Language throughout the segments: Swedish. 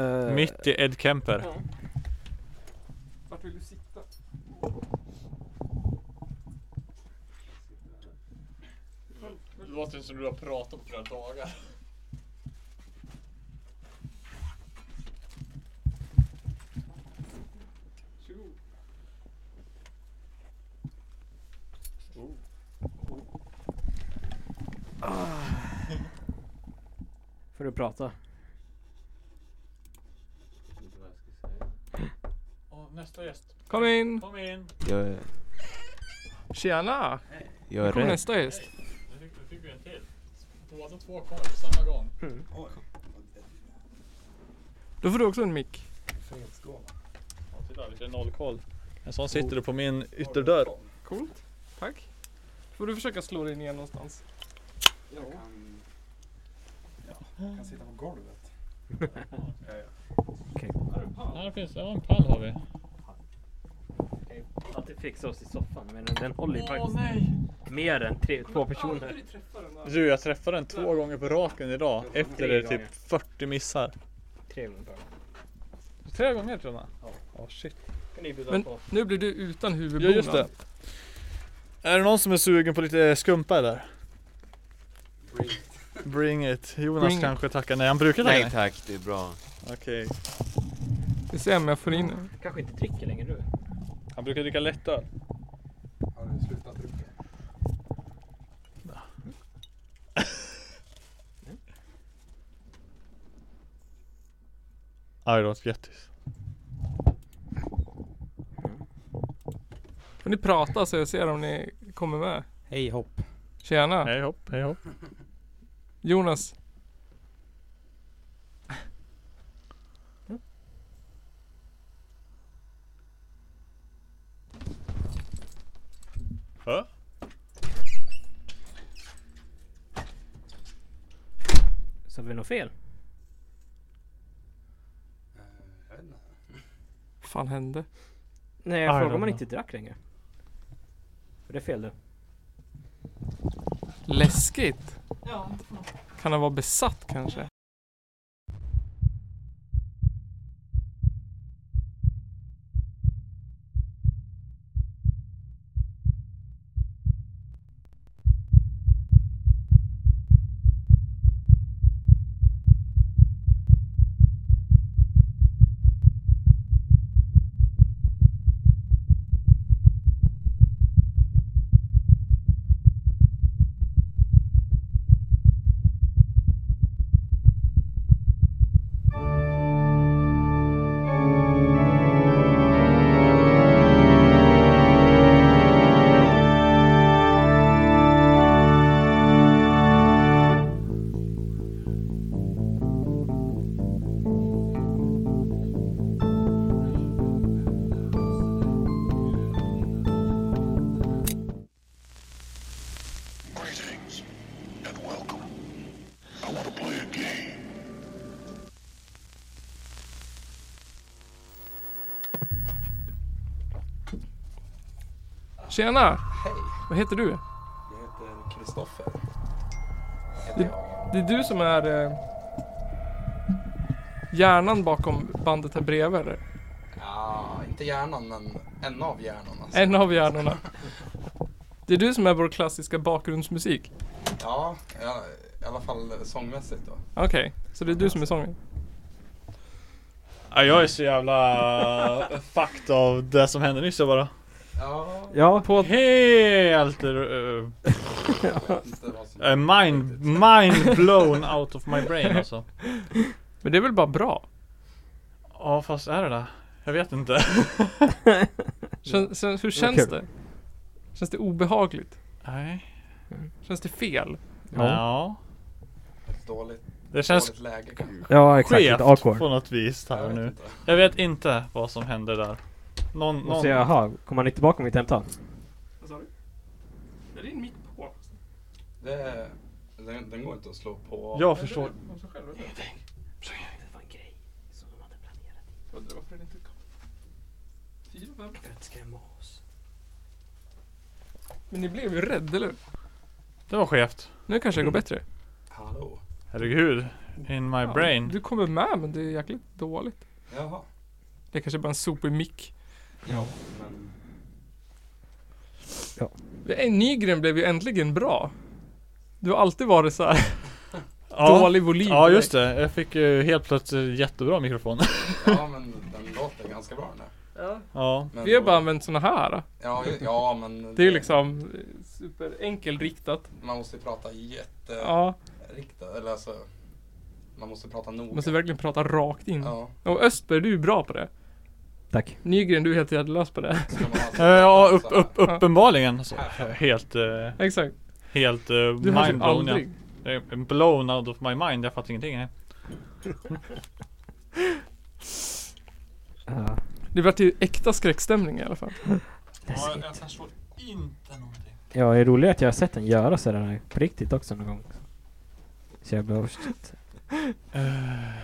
Eh, Mitt i Ed Kemper. Ja. Vart vill du sitta? Det låter som du har pratat om flera dagar. Varsågod. Får du prata? Och nästa gäst. Kom in! Kom in. Jag är, Tjena! jag är Kom rädd. nästa gäst. Nu fick, nu fick vi en till. Båda två kommer på samma gång. Då får du också en mick. Ja, titta, lite nollkoll. En sån sitter du på min ytterdörr. Coolt. Tack. Får du försöka slå dig ner någonstans. Jag kan, ja, kan sitta på golvet. Här finns, ja en pall har vi. Att det fixar oss i soffan men den håller ju Åh faktiskt nej! mer än tre, två personer. Du, jag träffade den två gånger på raken idag. Efter Tre det typ gånger. 40 missar. Tre gånger per. Tre gånger till och med? Ja. Ja, shit. Kan ni bjuda Men på? nu blir du utan Ja, huvudbonad. just det. Är det någon som är sugen på lite skumpa eller? Bring it. Jonas Bring it. kanske tackar nej. Han brukar tacka Nej nej. tack, det är bra. Okej. Vi ser om jag får in det. Kanske inte dricker längre nu. Han brukar dricka lättöl. Har du slutat dricka? I don't get this. Får ni prata så jag ser om ni kommer med. Hej hopp. Tjena! Hej hopp, hej hopp. Jonas. Va? Så har vi något fel? fan hände? Nej I jag frågar don't om man know. inte drack längre. För det är fel du. Läskigt. Kan han vara besatt kanske? Greetings and welcome. I want to play a game. Tjena! Vad heter du? Jag heter Kristoffer. Det är du som är eh, hjärnan bakom bandet här bredvid eller? Ja, inte hjärnan, men en av hjärnorna. Alltså. En av hjärnorna. Det är du som är vår klassiska bakgrundsmusik. Ja, ja, i alla fall sångmässigt då. Okej, så det är du som är sången. Ja, jag är så jävla eh, fucked av det som hände nyss jag bara. Ja, Ja. På Helt... Uh, jag vet inte vad Eh, som... mind, mind blown out of my brain alltså. Men det är väl bara bra? Ja fast är det det? Jag vet inte. Kän, kän, hur känns kul. det? Känns det obehagligt? Nej. Känns det fel? Ja. Ett dåligt, Det känns dåligt läge kanske. Ja exakt, skevt lite awkward. på något vis Jag här vet nu. inte. Jag vet inte vad som hände där. Någon, Och så någon... jaha, kommer han inte tillbaka med mitt hemtal? Vad sa du? Är din mick på? Det, den, den går inte att slå på. Jag förstår. Det var en grej som de hade planerat. Undrar varför den inte kom. Fyra, fem. För att skrämma oss. Men ni blev ju rädd, eller hur? Det var skevt. Nu kanske det går bättre. Hallå. Herregud. In my brain. Du kommer med men det är jäkligt dåligt. Jaha. Det är kanske bara en sopig mick. Ja, men... Eh, Nygren blev ju äntligen bra. Du har alltid varit så här dålig volym. Ja just det, jag fick ju helt plötsligt jättebra mikrofon. Ja men den låter ganska bra den där. ja. Men- Vi har bara använt såna här. Ja, ju- ja men... Det är ju liksom eh, superenkel riktat. Man måste ju prata jätte... Ja, Riktat, eller alltså... Man måste prata noga. måste verkligen prata rakt in. Ja. Och Östberg, du är bra på det. Tack. Nygren, du är helt värdelös på det. ska man Eh, alltså- Ja, upp, så här. upp, uppenbarligen. Så, Här. helt, eh, Exakt. helt eh, Du har typ mindblown. ja. aldrig. Jag är Blown out of my mind, jag fattar ingenting. nej. Eh, Ja. Det vart ju äkta skräckstämning i alla fall. Läskigt. jag förstår inte någonting. Ja, det är roligt att jag har sett den göra sådär på riktigt också någon gång. Så jag blev shit.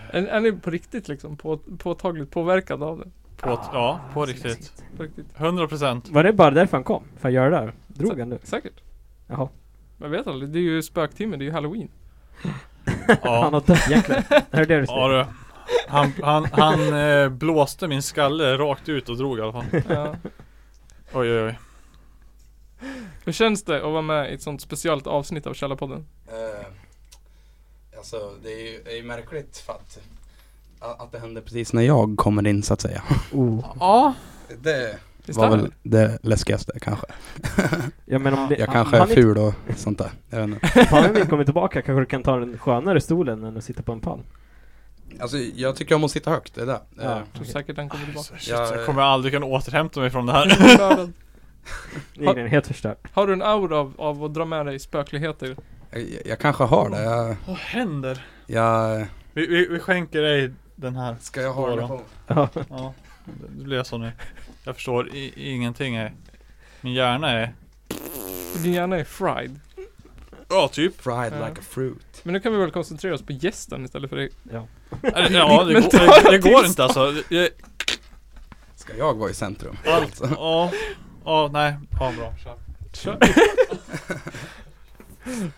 Är, är ni på riktigt liksom på, påtagligt påverkad av det? På, ja, på riktigt. På riktigt? 100 procent. Var det bara därför han kom? För att göra det där? Drog han det? Säkert. Jaha. Jag vet aldrig. Det är ju spöktimme. Det är ju halloween. Han Ja, har dött jäklar. Är det det du ja säger? du. Han, han, han eh, blåste min skalle rakt ut och drog i alla fall. Ja. Oj oj oj. Hur känns det att vara med i ett sånt speciellt avsnitt av Källarpodden? Eh, alltså det är ju det är ju märkligt för att, a- att det hände precis när jag kommer in så att säga. Oh. Ja. Det Visst var är det? väl det läskigaste kanske. Ja, men om det, Jag kanske är han, ful och sånt där. Jag vet inte. Om vi kommer tillbaka kanske du kan ta den skönare stolen än att sitta på en pall. Alltså jag tycker om att sitta högt, det är det. Ja. Eh, Jag tror säkert den kommer tillbaka. Shit, Jag- jag kommer aldrig kunna återhämta mig från det här. Det är helt förstört. Har du en aura av, av att dra med dig spökligheter? Eh, jag, jag kanske har det. Jag, Vad händer? jag, Vi, vi, vi skänker dig den här. ska jag ha det Skål på? Ja. Ja, det blir jag så nu. Jag förstår i, ingenting här. Min hjärna är... För Din hjärna är fried. Ja, typ. Fried Ja. like a fruit. Men nu kan vi väl koncentrera oss på gästen istället för dig. Eller, Ja, det, går- Men ta det, det ett går till inte alltså. Jag, Ska jag vara i centrum? allt, ja, ja, nej. Ja, bra. Kör. Kör.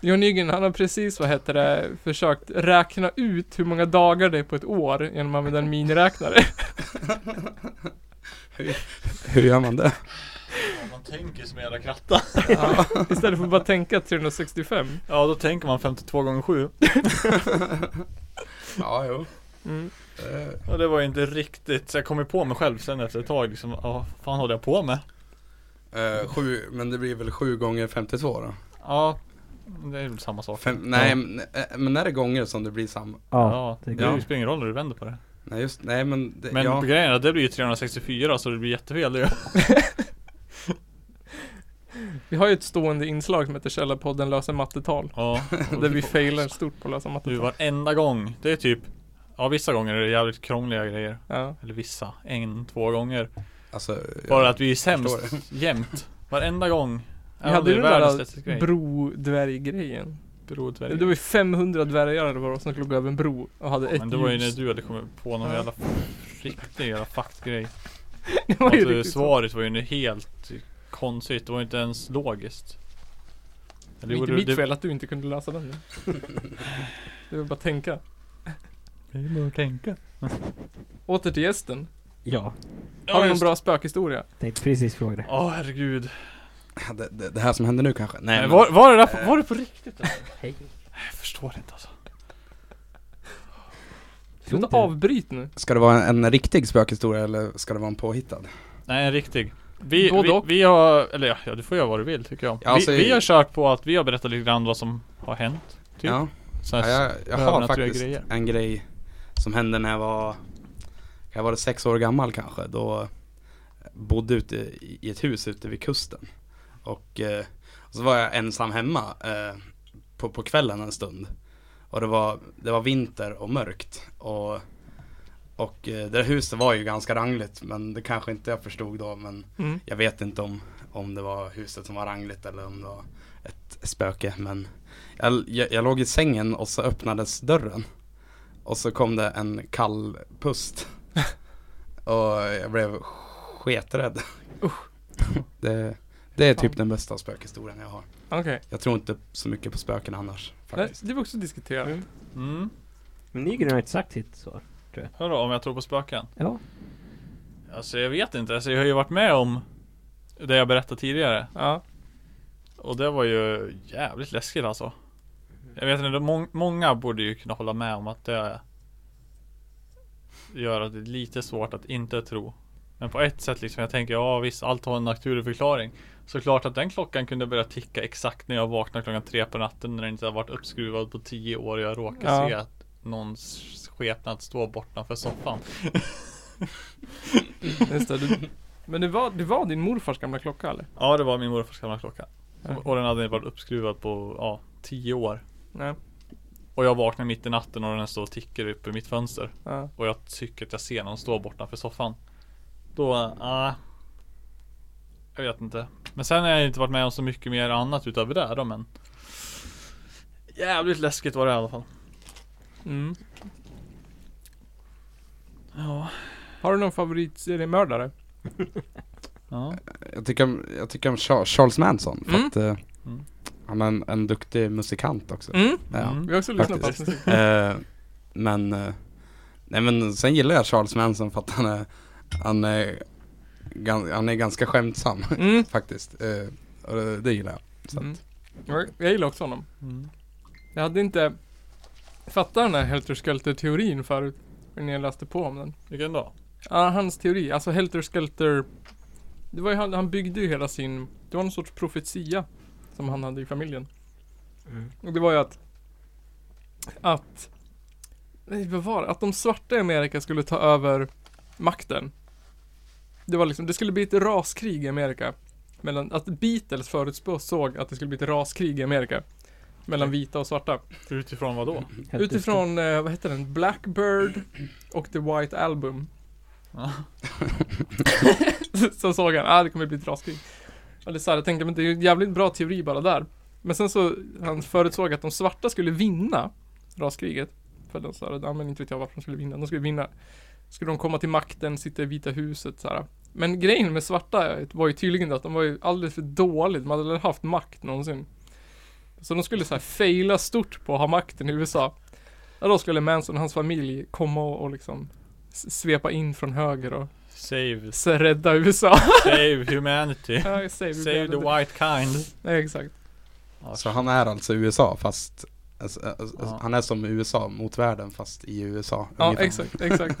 John Nygren, han har precis, vad heter det, försökt räkna ut hur många dagar det är på ett år genom att använda en miniräknare. Hur gör man det? Man tänker som en jävla kratta. Istället för att bara tänka 365. Ja, då tänker man 52 gånger 7. Ja, jo. Mm. Eh, Ja, det var ju inte riktigt. Så jag kom ju på mig själv sen efter ett tag liksom. Ja, vad fan håller jag på med? eh, sju, men det blir väl sju gånger 52 då? Ja, det är väl samma sak. Fem, nej, men, eh, men är det gånger som det blir samma? Ja. Ja, det går. spelar ingen roll när du vänder på det. Nej, just nej men, det, Men ja. grejen är att det blir ju 364 så det blir jättefel det ju. Vi har ju ett stående inslag som heter Källarpodden löser mattetal. Ja, Där vi failar stort på att lösa Du mattetal. varenda gång. Det är typ Ja vissa gånger är det jävligt krångliga grejer. Ja. Eller vissa. En, två gånger. Alltså, Bara ja, att vi är sämst förstår det. jämt. Varenda gång. Vi Även om hade det ju är den världens där lättaste grej. brodvärggrejen. Brodvärg. Det var ju 500 dvärgar det var som skulle gå över en bro och hade ett Men det var ju när ljus. du hade kommit på någon Ja. jävla riktig jävla faktgrej. det var ju Alltså riktigt så. svaret var ju helt konstigt. Det var inte ens logiskt. Det är inte mitt fel att du inte kunde lösa den. Det var bara att tänka. Det är bara att tänka. Åter till gästen. Ja. Har Ja, du någon just. bra spökhistoria? Tänkte precis fråga det. Åh herregud. det, det, det här som händer nu kanske? Nej, Nej, men, Eh. var, var, det där, var det på riktigt? eller? Hej. Jag förstår inte alltså. Sluta inte det. avbryt nu. Ska det vara en, en riktig spökhistoria eller ska det vara en påhittad? Nej, en riktig. Vi, Både vi, och. vi har, eller ja, ja, du får göra vad du vill tycker jag. Ja, alltså, vi, vi har kört på att vi har berättat lite grann vad som har hänt. Typ. Ja, Så ja här, jag, jag har övernaturliga faktiskt grejer. en grej som hände när jag var, jag var sex år gammal kanske, då bodde ute i i ett hus ute vid kusten. Och eh, så var jag ensam hemma eh, på, på kvällen en stund. Och det var, det var vinter och mörkt. Och, och eh, det där huset var ju ganska rangligt, men det kanske inte jag förstod då. Men Mm. jag vet inte om, om det var huset som var rangligt eller om det var ett spöke men jag, jag, jag låg i sängen och så öppnades dörren och så kom det en kall pust och jag blev sketrädd. Det, det är typ den bästa spökhistorien jag har. Okej. Jag tror inte så mycket på spöken annars Nej, faktiskt. Det var också diskuterat. Mm. Men Nygren har inte sagt sitt svar. Hörru, om jag tror på spöken? Ja. Alltså jag vet inte, alltså jag har ju varit med om det jag berättade tidigare. Ja. Och det var ju jävligt läskigt alltså. Jag vet inte, må- många borde ju kunna hålla med om att det gör att det är lite svårt att inte tro. Men på ett sätt liksom, jag tänker ja visst, allt har en naturlig förklaring. Såklart att den klockan kunde börja ticka exakt när jag vaknade klockan tre på natten när den inte har varit uppskruvad på tio år och jag råkar Ja. se att någons skepnad står bortanför soffan. Just det, du, men det var, det var din morfars gamla klocka eller? Ja, det var min morfars gamla klocka. Ja. Och den hade varit uppskruvad på, ja, tio år. Nej. Och jag vaknar mitt i natten och den står och tickar uppe i mitt fönster. Ja. Och jag tycker att jag ser någon stå bortanför soffan. Då, ah. Jag vet inte. Men sen har jag inte varit med om så mycket mer annat utöver det då men. Jävligt läskigt var det i alla fall. Mm. Ja. Har du någon favoritseriemördare? Ja. Jag tycker om, jag tycker om Char- Charles Manson för Mm. att eh, Mm. han är en, en duktig musikant också. Mm. Ja. Mm. Vi har också lyssnat på hans Faktiskt. musik. Eh, men, eh, nej men sen gillar jag Charles Manson för att han är, han är, gan, han är ganska skämtsam Mm. faktiskt. Eh, och det, det gillar jag. Så att, Mm. Ja, Jag gillar också honom. Mm. Jag hade inte fattat den här Helter Skelter-teorin förut. När jag läste på om den. Vilken dag? Ja, hans teori. Alltså Helter Skelter. Det var ju han, han byggde ju hela sin, det var någon sorts profetia. Som han hade i familjen. Mm. Och det var ju att Att Nej vad var det? Att de svarta i Amerika skulle ta över makten. Det var liksom, det skulle bli ett raskrig i Amerika. Mellan, att Beatles förutspåsåg att det skulle bli ett raskrig i Amerika. Mellan vita och svarta. Utifrån vad då? Helt Utifrån, eh, vad heter den? Blackbird och The White Album. Ja. så såg han, ah det kommer bli ett raskrig. Och det är så här, jag tänkte, men det är ju en jävligt bra teori bara där. Men sen så, han förutsåg att de svarta skulle vinna raskriget. För de sa, ja men inte vet jag varför de skulle vinna, de skulle vinna. Skulle de komma till makten, sitta i Vita huset så här. Men grejen med svarta var ju tydligen att de var ju alldeles för dåligt, de hade aldrig haft makt någonsin. Så de skulle så här faila stort på att ha makten i USA. Ja, då skulle Manson och hans familj komma och, och liksom s- svepa in från höger och Save, s- rädda USA. save humanity. Ja, jag säger Save det. the white kind. Nej, exakt. Så han är alltså USA fast, alltså, alltså, Ja. han är som USA mot världen fast i USA. Ja, ungefär. exakt, exakt.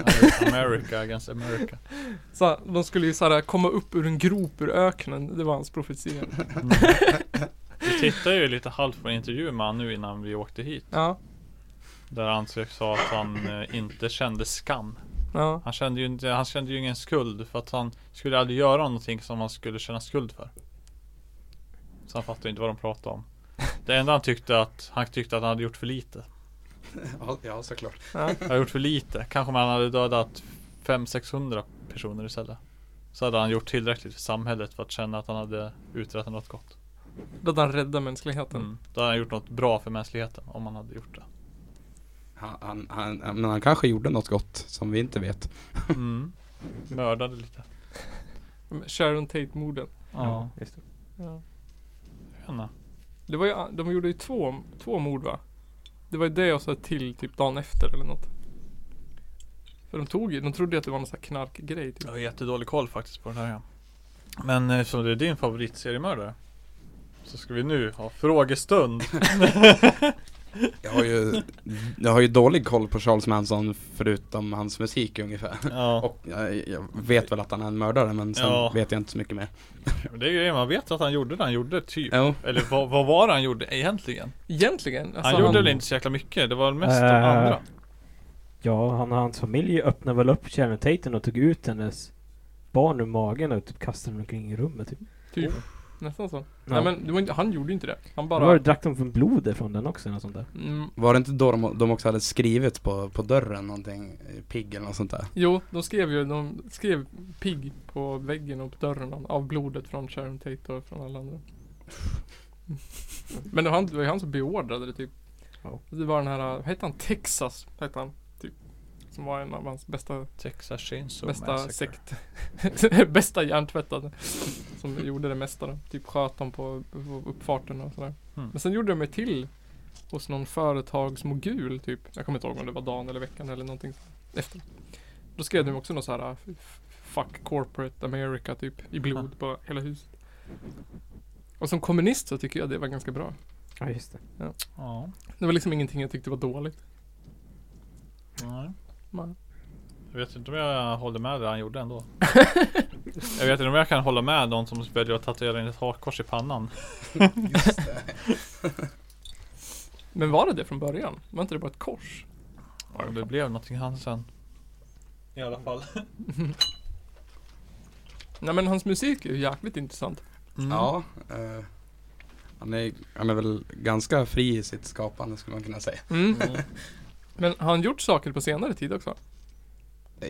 America against America. Så de skulle ju såhär komma upp ur en grop ur öknen. Det var hans profetia. Mm. Vi tittade ju lite halvt på en intervju med han nu innan vi åkte hit. Ja, Där han sa att han eh, inte kände skam. ja, Han kände, ju inte, han kände ju ingen skuld för att han skulle aldrig göra någonting som han skulle känna skuld för. Så han fattade inte vad de pratade om. Det enda han tyckte att, han tyckte att han hade gjort för lite. Ja, ja såklart. ja. Jag har gjort för lite. Kanske om han hade dödat 500-600 personer istället. Så hade han gjort tillräckligt för samhället för att känna att han hade uträttat något gott. Då hade han räddat mänskligheten. Mm. Då hade han gjort något bra för mänskligheten om han hade gjort det. Han, han, han, men han kanske gjorde något gott som vi inte vet. Mm. Mördade lite. Mm. Sharon Tate-morden. Ja, just det. Ja. Jag vet inte. Det var ju, ah, de gjorde ju två, två mord va? Det var ju det jag sa till typ dagen efter eller något. För de tog ju, de trodde ju att det var någon sån här knarkgrej typ. Jag har jättedålig koll faktiskt på den här. ja. Men eh, eftersom det är din favoritseriemördare. Så ska vi nu ha frågestund. Jag har ju, jag har ju dålig koll på Charles Manson förutom hans musik ungefär. ja. Och jag, jag vet väl att han är en mördare men sen Ja. vet jag inte så mycket mer. Men det är ju det, man vet att han gjorde det han gjorde typ. Jo, Eller vad, vad var det han gjorde egentligen? Egentligen. Han alltså, gjorde väl inte så jäkla mycket. Det var mest det Äh. andra. Ja, han och hans familj öppnade väl upp Sharon Taten och tog ut hennes barn ur magen och typ kastade dem omkring i rummet. Typ. Typ. Nästan så. Ja. Nej men det var inte, han gjorde ju inte det. Han Bara... Var bara... det drack de från blodet från den också? eller Något sånt där. Mm, var det inte då de, de också hade skrivit på, på dörren någonting, eh, pigg eller något sånt där? Jo, de skrev ju, de skrev pigg på väggen och på dörren av blodet från Sharon Tate och från alla andra. Men det var han- det var ju han som beordrade det typ. Ja. Det var den här, vad hette han, Texas hette han. Typ. Som var en av hans bästa, Texas Chainsaw bästa Massacre. sekt. bästa hjärntvättade. Som gjorde det mesta då. Typ sköt dem på på uppfarten och sådär. Mm. Men sen gjorde de ju till hos någon företagsmogul typ. Jag kommer inte ihåg om det var dagen eller veckan eller någonting efter. Då skrev de också något så här "Ah, f- Fuck corporate America typ i blod på hela huset. Och som kommunist så tycker jag det var ganska bra. Ja, just det. Ja. Det var liksom ingenting jag tyckte var dåligt. Nej. Man. Jag vet inte om jag håller med det han gjorde ändå. jag vet inte om jag kan hålla med någon som väljer att tatuera in ett hakkors i pannan. Men var det det från början? Var inte det bara ett kors? Om det blev någonting han sen. I alla fall. Nej men hans musik är ju jäkligt intressant. Mm. Ja, eh, han, är, han är väl ganska fri i sitt skapande skulle man kunna säga. Mm. Mm. Men har han gjort saker på senare tid också?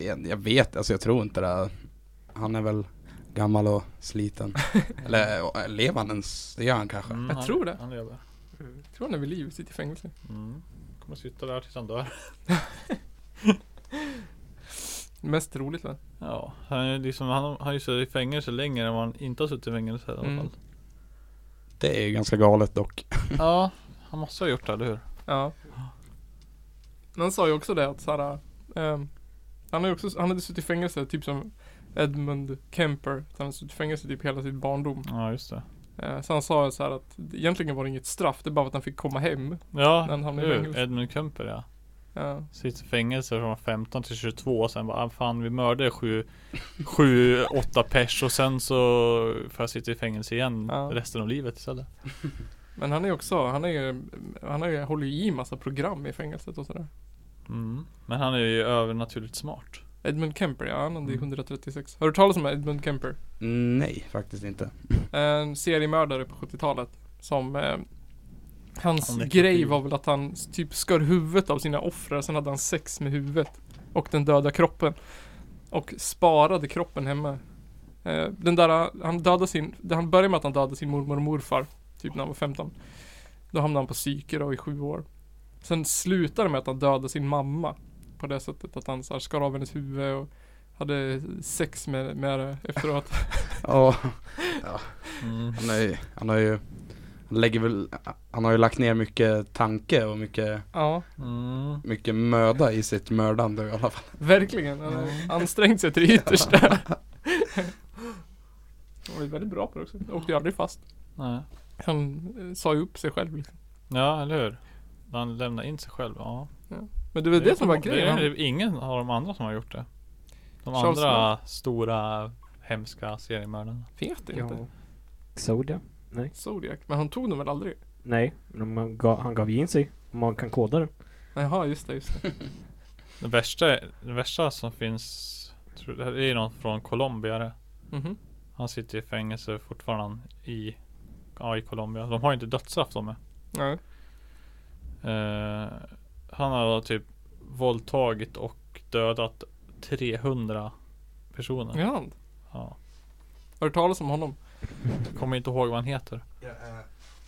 Jag, jag vet, alltså jag tror inte det. Han är väl gammal och sliten. Eller eh, lever han ens? Det gör han kanske. Mm, Jag han- tror det. Han lever. Jag tror han är vid liv, sitter i fängelse. Mm. Kommer sitta där tills han dör. Mest roligt va? Ja, han är liksom, han han har ju suttit i fängelse längre än vad han inte har suttit i fängelse i alla Mm. fall. Det är ju ganska galet dock. Ja, han måste ha gjort det, eller hur? Ja. Men han sa ju också det att såhär, ehm, han, har ju också, han hade suttit i fängelse typ som Edmund Kemper. Så Han hade suttit i fängelse typ hela sin barndom. Ja, just det. Eh, så han sa ju så här att det- egentligen var det inget straff, det är bara att han fick komma hem. Ja, Men han är i hur? fängelse. Edmund Kemper ja. Ja. Sitter i fängelse från 15 till 22 och sen bara, ah, fan vi mördade 7, 7, 8 pers och sen så får jag sitta i fängelse igen Ja. resten av livet istället. Men han är också, han är ju, han har ju, håller ju i massa program i fängelset och sådär. Mm. Men han är ju övernaturligt smart. Edmund Kemper ja, han hade ju Mm. 136. Har du hört talas om Edmund Kemper? Nej, faktiskt inte. Eh, En seriemördare på 70-talet som eh, Hans Han är typ grej kul. var väl att han s- typ skar huvudet av sina offer, sen hade han sex med huvudet och den döda kroppen. Och sparade kroppen hemma. Eh, den där, han dödade sin, det- han började med att han dödade sin mormor och morfar, typ när han var 15. Då hamnade han på psyke då i sju år. Sen slutade det med att han dödade sin mamma. På det sättet att han så här, skar av hennes huvud och hade sex med, med det efteråt. Ja, Mm. han, är, ju- han har ju han, lägger väl, han har ju lagt ner mycket tanke och mycket, ja. Mm. mycket möda i sitt mördande i alla fall. Verkligen, han har ansträngt sig till det yttersta. Han var ju väldigt bra på det också. Åkte ju aldrig fast. Nej. Han eh, sa ju upp sig själv liksom. Ja, eller hur? Han lämnar in sig själv, ja. Men det var det, som var grejen. Det är ingen av de andra som har gjort det. De Charles andra stora hemska seriemördarna. Han vet inte. Ja. Soda? Zodiac. Men han tog den väl aldrig? Nej, men man gav, han gav ju in sig. Om man kan koda den. Jaha, just det, just det. Det värsta, det värsta som finns, tror, det här är någon från Colombia det. Mhm. Han sitter i fängelse fortfarande i, ja, i Colombia. De har ju inte dödsstraff de med. Nej. Eh, han har typ våldtagit och dödat 300 personer. Är han? Ja. Har du talat om honom? Jag kommer inte ihåg vad han heter.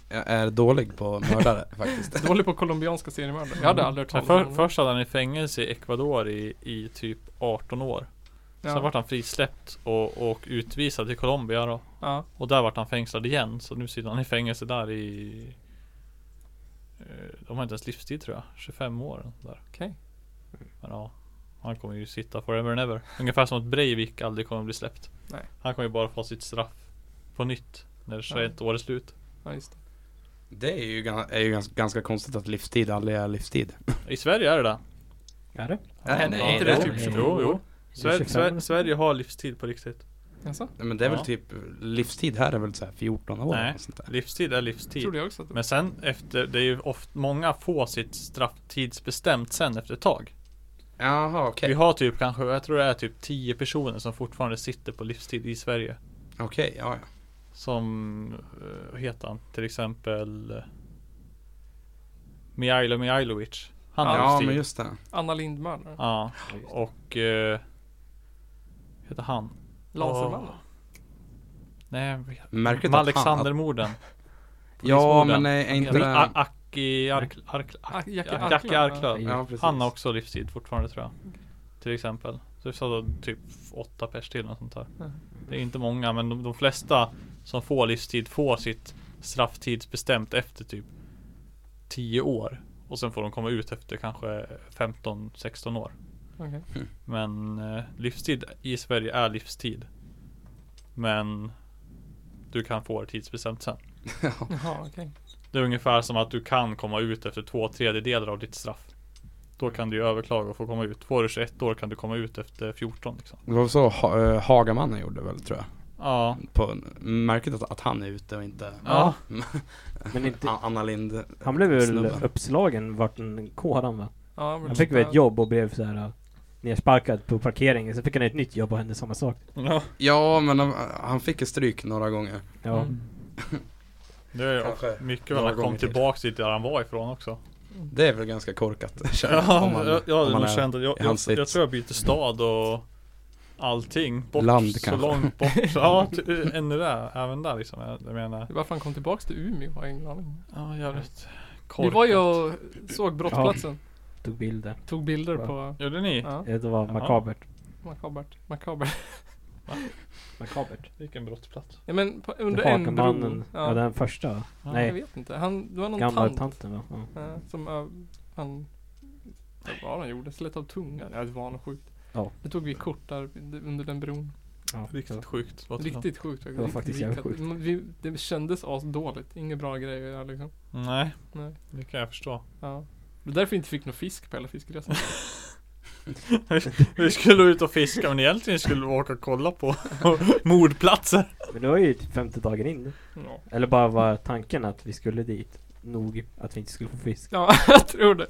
Jag är dålig på mördare faktiskt. Dålig på colombianska seriemördare. Jag hade aldrig hört Men talas om för, honom. först hade han i fängelse i Ecuador i, i typ 18 år. ja. Sen vart han frisläppt och, och utvisad till Colombia då. ja. Och där vart han fängslad igen. Så nu sitter han i fängelse där i eh, De har inte ens livstid tror jag. 25 år. eller Där. Okej. Men ja. Han kommer ju sitta forever and ever. Ungefär som att Breivik aldrig kommer bli släppt. Nej. Han kommer ju bara få sitt straff på nytt. När 21 år är slut. Ja, just det. Det är ju, gan- är ju ganska, ganska konstigt att livstid aldrig är livstid. I Sverige är det det. Är det? Nej, nej, Ja, inte det. typ 25 Jo, jo. Sver- 25. Sver- Sverige har livstid på riktigt. Jaså? Nej, Men det är Ja. väl typ, livstid här är väl så här 14 år Nej. eller sånt där. Livstid är livstid. Trodde jag också att det var. Men sen efter, det är ju ofta, många får sitt straff tidsbestämt sen efter ett tag. Jaha Vi okej. har typ kanske, jag tror det är typ 10 personer som fortfarande sitter på livstid i Sverige. Okej, ja ja. Som, eh, vad heter han? Till exempel eh, Mijailo Mijailovic. Han har Ja livstid. men just det. Anna Lindmördare. Ja, Ja, just det. och... Eh, vad heter han? Lasermannen. Åh. Nej, jag vet- Märkligt att han, att, Alexandermorden. Ja Polismorden. men är är inte Eller det... A- Aki Ark- Ark- Ah, Aki- Jackie Aki Arklöv, ja. Arklöv. Ja, precis. Han har också livstid fortfarande tror jag. Till exempel. Så det sa typ åtta pers till och sånt där. Mhm. Det är inte många men de, de flesta som får livstid får sitt strafftidsbestämt efter typ 10 år och sen får de komma ut efter kanske 15-16 år. Okej. Men eh, livstid i Sverige är livstid. Men du kan få det tidsbestämt sen. Jaha, okej. Det är ungefär som att du kan komma ut efter två tredjedelar av ditt straff. Då Mm. kan du ju överklaga och få komma ut. Får du 21 år kan du komma ut efter 14 liksom. Det var så ha, eh, Hagamannen gjorde väl tror jag. Ja. På, märkligt att, att han är ute och inte Ja. Men inte, A- Anna Lind eh, han blev väl snubben. uppslagen vart en kåran va? Ja, men- Han fick väl ett jobb och blev så här uh, nersparkad på parkeringen. Sen fick han ett nytt jobb och hände samma sak. ja. Ja men han- han fick ju stryk några gånger. Ja. Mm. Det är Kanske ju mycket några väl han gånger kom till. tillbaks dit där han var ifrån också. Det är väl ganska korkat känner jag, Ja, om man- jag, jag om hade man nog är- känt att jag, i jag, hans jag sits. tror jag byter stad och allting. Bort, Land så kanske. långt bort. Ja, ty- ännu där. Även där liksom. Jag, jag menar. Varför han kom tillbaks till Umeå har jag ingen aning. Ja, jävligt Vi korkat. var ju och såg brottsplatsen. Tog bilder. Tog bilder Va? på... Gjorde ni? Ja, Det var Jaha. makabert. makabert. Makabert. Makabert. Vilken brottsplats. Ja, men på, under en bro. Hakamannen. Ja. ja, den första. va? Ja, Jag Nej, vet inte. Han, det var någon gamla tant. tanten va? Ja. eh, som ö- han... Vad var han gjorde? Slet av tungan. Ja, det var något sjukt. Ja. Det tog vi kort där under den bron. Ja. Riktigt sjukt. låter det som. Riktigt sjukt faktiskt. Det var faktiskt jävligt riktigt- Vi, det kändes asdåligt. Inga bra grejer där liksom. Nej, Nej. det kan jag förstå. Ja. Det var därför vi inte fick någon fisk på hela fiskresan. Vi skulle ut och fiska men egentligen skulle vi åka och kolla på mordplatser. Men det var ju typ femte dagen in. ja. Eller bara var tanken att vi skulle dit. Nog att vi inte skulle få fisk. ja, jag tror det.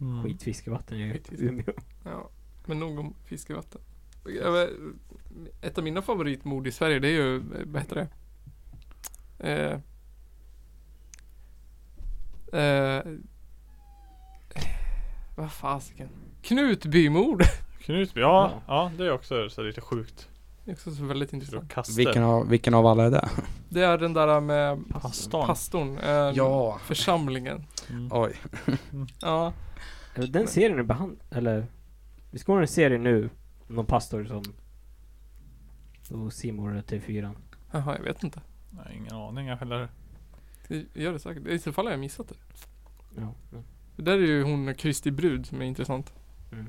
Mm. Skitfiskevatten i Skitfiske. Umeå. Ja. Men nog om fiskevatten. Ja, men, Ett av mina favoritmord i Sverige det är ju, eh, vad heter det? Eh, eh, vad fasiken? Knutbymord! Knutby, ja, ja det är också så här lite sjukt. Det är också så väldigt Sitter och intressant. kastar. vilken, av, vilken av alla är det? Det är den där med Pastorn. pastorn. Eh, Ja. Församlingen. Mm. Oj. Ja. Eller Den serien är behand... Eller... Vi ska ha en serie nu. om Någon pastor som... Och Simor till fyran. Jaha, jag vet inte. Nej, ingen aning jag heller. Det gör det säkert. I så fall har jag missat det. Ja. men- Det där är ju hon Kristi brud som är intressant.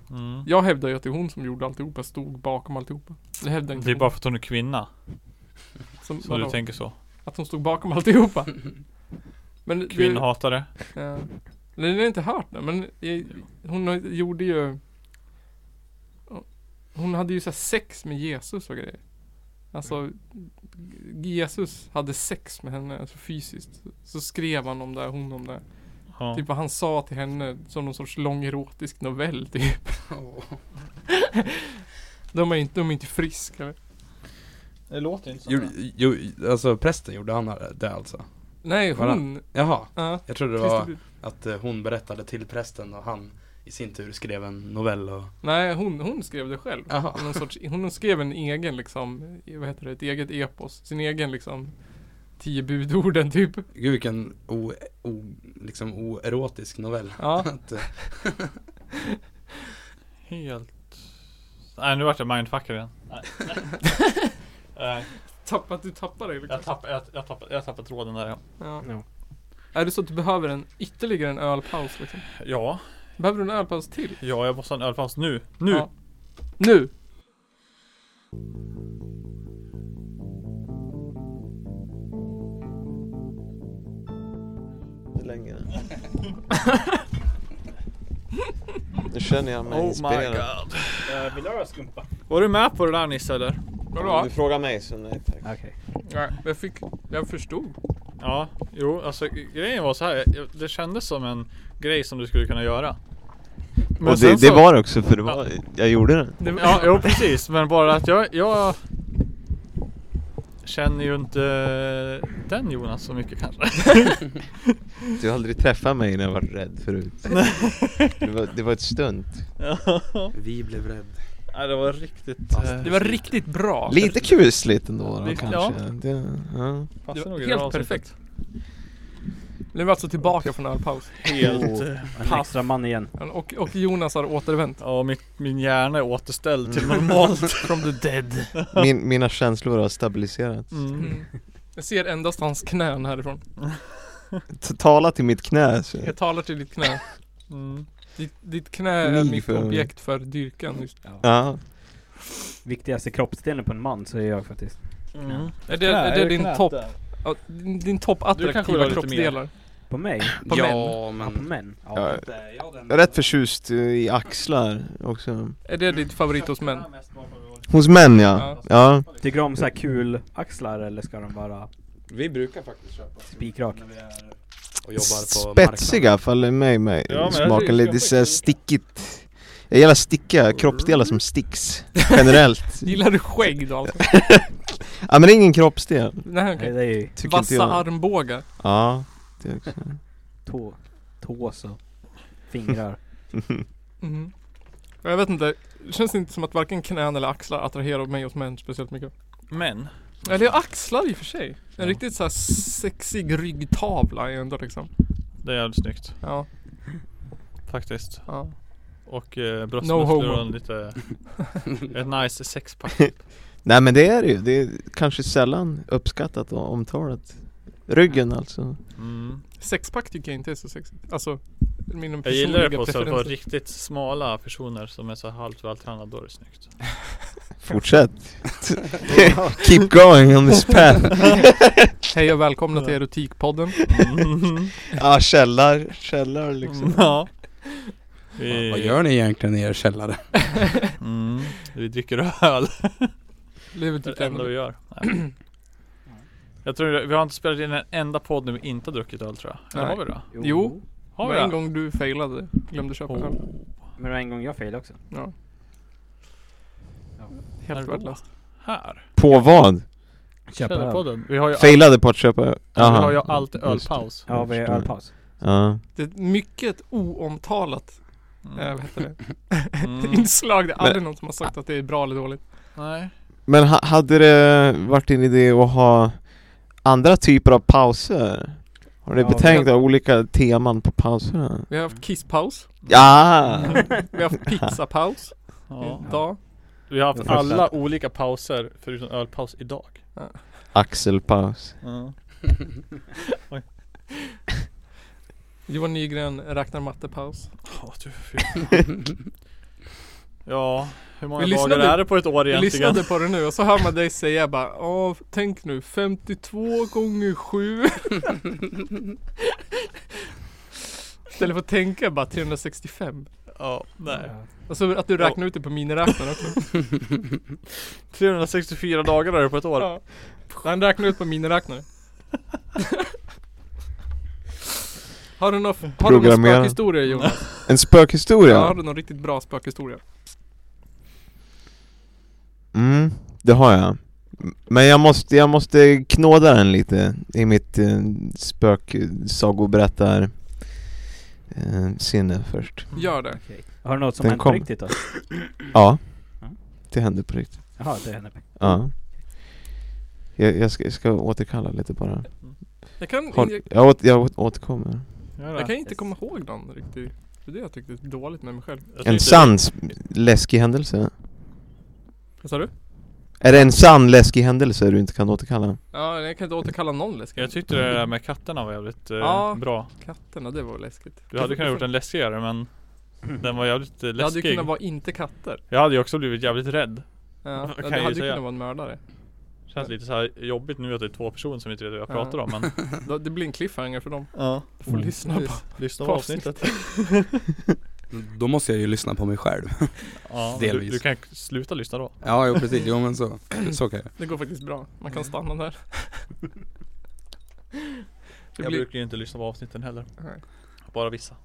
Mm. Jag hävdar ju att det är hon som gjorde alltihopa, stod bakom alltihopa. Det hävdar inte Det är hon. bara för att hon är kvinna. som, Så vadå? du tänker så. Att hon stod bakom alltihopa. Men det- Kvinnohatare. Ja. Nej, det har jag inte hört nu, men jag, hon har- gjorde ju... Hon hade ju så här sex med Jesus och grejer. Alltså, Jesus hade sex med henne, alltså fysiskt. Så skrev han om det, hon om det. Ja. Typ vad han sa till henne som någon sorts lång erotisk novell typ. De är inte, de är inte friska. Det låter inte Gjorde- jo, alltså prästen gjorde han det alltså? Nej, Vadå? hon. Jaha, Ja. jag trodde det Kristi var brud. att eh, hon berättade till prästen och han i sin tur skrev en novell och Nej, hon, hon skrev det själv. Jaha. Någon sorts, hon skrev en egen liksom, eh, vad heter det, ett eget epos. Sin egen liksom, tio budorden typ. Gud vilken o, o, liksom oerotisk novell. Ja, Att, eh, Helt... Nej nu vart jag mindfuckad igen. Nej. Nej. tappat, du tappar dig liksom. jag, tapp, jag, jag, tapp, jag tappade tråden där ja. Ja. Ja. Är det så att du behöver en ytterligare en ölpaus liksom? Ja, Behöver du en ölpaus till? ja jag måste ha en ölpaus nu. Nu! Ja. Nu! inte längre. Nu känner jag mig Oh my inspirerad. god. Var du med på det där Nisse eller? Om Vadå? du frågar mig så nej tack. Okej. Nej, jag fick, jag förstod. Ja, jo alltså grejen var så här. jag- Det kändes som en grej som du skulle kunna göra. Men Och sen det, det så- var det också för det var, jag gjorde det. Det, var- Ja, jo precis. Men bara att jag, jag känner ju inte den Jonas så mycket kanske. Du har aldrig träffat mig när jag var rädd förut. Det var, det var ett stunt. vi blev rädd. Nej det var riktigt... Fast- eh, det var riktigt bra. Lite kusligt ändå då Lite, kanske. Det, ja. Det passar var nog i det här helt avsnittet. perfekt. Nu är vi alltså tillbaka från ölpaus. Helt... eh, En extra man igen. Och, och Jonas har återvänt. Ja, min, min hjärna är återställd till normalt. From Mm. the dead. Min, mina känslor har stabiliserats. Mm. Jag ser endast hans knän härifrån. T- Tala till mitt knä. Så. Jag talar till ditt knä. Mm. Ditt, ditt knä är Ni mitt för- objekt för dyrkan just Ja. Viktigaste kroppsdelen på en man så är jag faktiskt. Mm. Är det, är det din knät topp, där? ja, din din topp Du kanske vill ha attraktiva lite kroppsdelar? På mig? På ja, Ja, på men män? Ja. Ja. Jag är rätt förtjust eh, i axlar också. Är det ditt favorit hos män? Hos män ja. Ja. Tycker du om så här kul axlar eller ska de vara vi brukar faktiskt köpa spikrak? och jobbar på Spetsiga faller mig med Ja, men jag tycker- smaken lite såhär stickigt. Jag gillar stickiga kroppsdelar som sticks. Generellt. Gillar du skägg då alltså? Ja men det är ingen kroppsdel. Nej, Nej okej. det är ju Tycker inte Vassa jag. armbågar. Ja. Det också. tå, tås och fingrar. Mhm. Jag vet inte, det känns inte som att varken knän eller axlar attraherar mig hos män speciellt mycket. Men, Eller jag axlar i och för sig. En riktigt så här sexig ryggtavla är jag ändå liksom. det är jävligt snyggt Ja, faktiskt. ja. Och eh, homo. bröstmuskler och en lite, ett nice sexpack. Nej men det är det ju. Det är kanske sällan uppskattat och omtalat. Ryggen alltså. Mm. Sexpack tycker jag inte är så sexigt. Alltså, mina Jag gillar det på, personliga så, på preferenser. riktigt smala personer som är så halvt vältränade, då är det snyggt. Fortsätt. Keep going on this path. Hej och välkomna till Erotikpodden. Ja källar, källar liksom. Mm. Ja. marknaden. Vi, Vad gör ni egentligen i er källare? Mm. Vi dricker öl. Livet Det är ut det enda vi ämne. gör. Nej. Jag tror vi har inte spelat in en enda podd när vi inte har druckit öl tror jag. Eller Nej. har vi det? Jo. Har Var vi en det? gång du failade, glömde köpa Oh. öl. Men det var en gång jag failade också. Ja. Ja. Helt Hallå. värdelöst. Här. På vad? Köpa öl. Källarpodden. Vi har ju, all, Failade på att köpa? vi har ju Jaha. alltid Just det. ölpaus. Ja, vi har ölpaus. Ja. Det är mycket oomtalat, eh, vad heter det? Mm. Inslag. Det är aldrig någon som har sagt att det är bra eller dåligt. Nej. Men ha, hade det varit din idé att ha andra typer av pauser? Har ni Ja, betänkt av olika teman på pauserna? Vi har haft kisspaus. Ja! Vi har haft pizzapaus Ja. idag. Vi har haft Jag fattar. alla olika pauser förutom ölpaus idag. Axelpaus. Johan Nygren räknar mattepaus. Ja, du, fy. ja, hur många Vi dagar lyssnade- är det på ett år Jag egentligen? lyssnade på det nu och så hör man dig säga bara Åh, tänk nu 52 gånger 7 Istället för att tänka bara 365 Ja, nej. Ja. Alltså att du räknar ut det på miniräknaren också 364 dagar är det på ett år. ja. Han räknar ut på miniräknare Har du någon, har du någon Programmera. Oh, spökhistoria Jonas? En Ja, har spökhistoria? du någon riktigt bra spökhistoria? Mm, det har jag. M- Men jag måste, jag måste knåda den lite i mitt eh, spöksagoberättar eh, sinne först. Gör det Okej. Har du något som Den hänt kom. på riktigt då? Ja. Mm. Det hände på riktigt. Jaha, det hände. Ja. Jag, jag, ska, jag ska återkalla lite bara. Jag kan, Har, jag, jag, åt, jag åt- återkommer. Gör det. jag kan inte komma ihåg någon riktigt Det är det jag tyckte är dåligt med mig själv Jag En tänkte- sann s- läskig händelse? Vad sa du? Är det en sann läskig händelse du inte kan återkalla? Ja, jag kan inte återkalla någon läskig. Jag tyckte det där med katterna var jävligt eh, Ja. bra. Katterna, det var läskigt. Du hade kunnat gjort en läskigare men den var jävligt eh, Det hade ju läskig. kunnat vara inte katter. Jag hade ju också blivit jävligt rädd. Ja, Kan det jag ju hade ju säga. kunnat vara en mördare. Känns lite så här jobbigt nu att det är två personer som inte vet vad jag Ja. pratar om men Då- Det blir en cliffhanger för dem. Ja, Du får lyssna på. lyssna på på avsnittet. Då måste jag ju lyssna på mig själv. Ja, men du, Delvis. du kan sluta lyssna då. Ja, jo precis. Jo men så. Så kan jag. Det går faktiskt bra. Man Mm. kan stanna där. Det Jag blir... brukar ju inte lyssna på avsnitten heller. Nej. Bara vissa.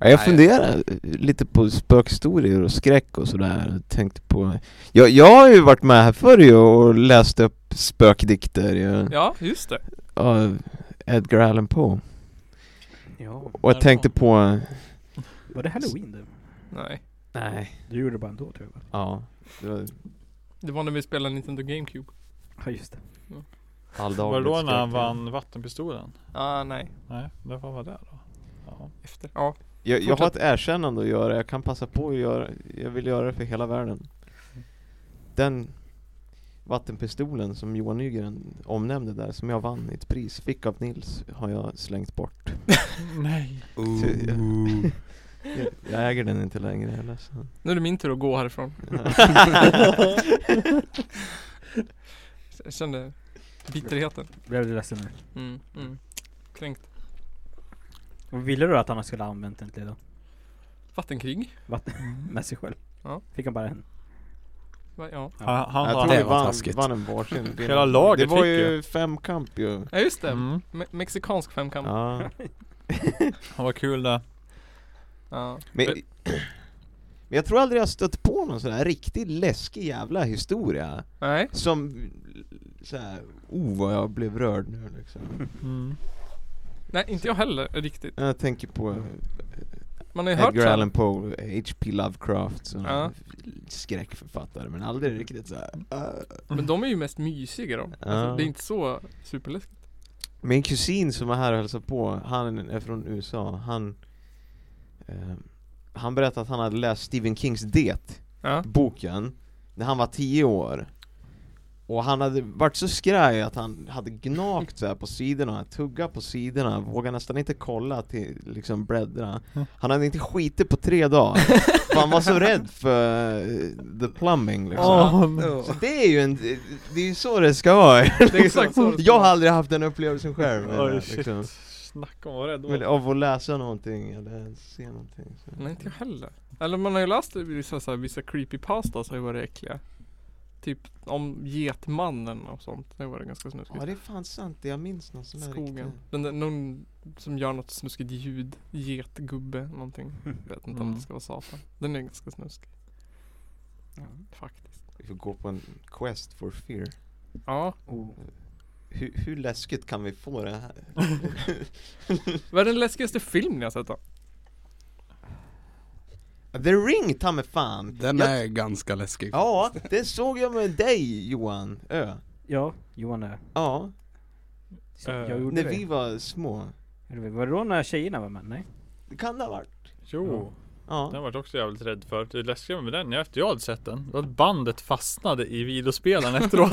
Ja, Jag Nej. funderar lite på spökhistorier och skräck och sådär. och Tänkte på... Jag, jag har ju varit med här förr ju och läst upp spökdikter ju. Ja, just det. Av Edgar Allan Poe. Ja. Och jag tänkte på... Var det halloween du? Nej. Nej. Du gjorde det bara ändå tror jag. va? Ja. Det var Det var när vi spelade Nintendo GameCube. Ja, just det. Var det alldagligt då när han skräck. vann vattenpistolen? Ah, nej. Nej, det var väl det då? Ja. Efter. Ja. Jag, jag har ett erkännande att göra, jag kan passa på att göra, jag vill göra det för hela världen Den Vattenpistolen som Johan Nygren omnämnde där, som jag vann i ett pris, fick av Nils, har jag slängt bort. Nej. Ooh. Jag, jag äger den inte längre, jag är ledsen. Nu är det min tur att gå härifrån. Jag kände bitterheten. Blev du ledsen nu? Mm, mm. Kränkt. Och ville du att han skulle ha använt den till då? Vattenkrig? Vatten med sig själv? Ja. Fick han bara en? Va- Ja, Han, han jag var... tror vi det var vann, taskigt. vann en varsin. Det- Hela laget Det var fick ju femkamp ju. ja just det. Mm. Me- mexikansk femkamp. Ja. Ja. Han var kul det. Men, men jag tror aldrig jag stött på någon sån här riktigt läskig jävla historia. Nej. Som så här, oh vad jag blev rörd nu liksom. Mm. Nej, inte jag heller riktigt. Jag tänker på Man har ju hört Edgar så. Allan Poe, H.P. Lovecraft, sån Ja. skräckförfattare men aldrig riktigt så här. "Ah." Men de är ju mest mysiga de. Alltså, Ja. det är inte så superläskigt. Min kusin som var här och hälsade på, han är från USA, han eh, Han berättade att han hade läst Stephen Kings Det, Ja. boken, när han var 10 år Och han hade varit så skraj att han hade gnagt så här på sidorna, tuggat på sidorna, vågade nästan inte kolla till liksom bläddra Han hade inte skitit på tre dagar, för han var så rädd för eh, the plumbing liksom Åh, Så det är ju en, det är ju så det ska vara Det är exakt så det ska Jag har vara. aldrig haft den upplevelsen själv menar Oj jag, shit. liksom. Snacka om vad rädd Men av att läsa någonting eller se någonting så. Nej, inte jag heller. Eller man har ju läst det, vissa, så här, vissa creepypastas har ju varit äckliga. Typ om Getmannen och sånt. Det var det ganska snuskigt. Ja det är fan sant, jag minns någon sån där Skogen. riktig- Den där, någon som gör något snuskigt ljud. Getgubbe någonting. Jag vet inte om Mm. det ska vara satan. Den är ganska snuskig. Faktiskt. Vi får gå på en quest for fear Ja. Oh. hur, hur läskigt kan vi få det här? Vad är den läskigaste film ni har sett då? The ring ta mig fan! Den jag, är ganska läskig. Ja, det såg jag med dig Johan Ö Ja, Johan är. Ja, Så Eh, jag gjorde när det. vi var små Eller Var det då när tjejerna var med? Nej? Det kan det ha varit Jo. Den Ja, var jag också jävligt rädd för. Det läskiga med den, efter jag hade sett den, var att bandet fastnade i videospelaren efteråt.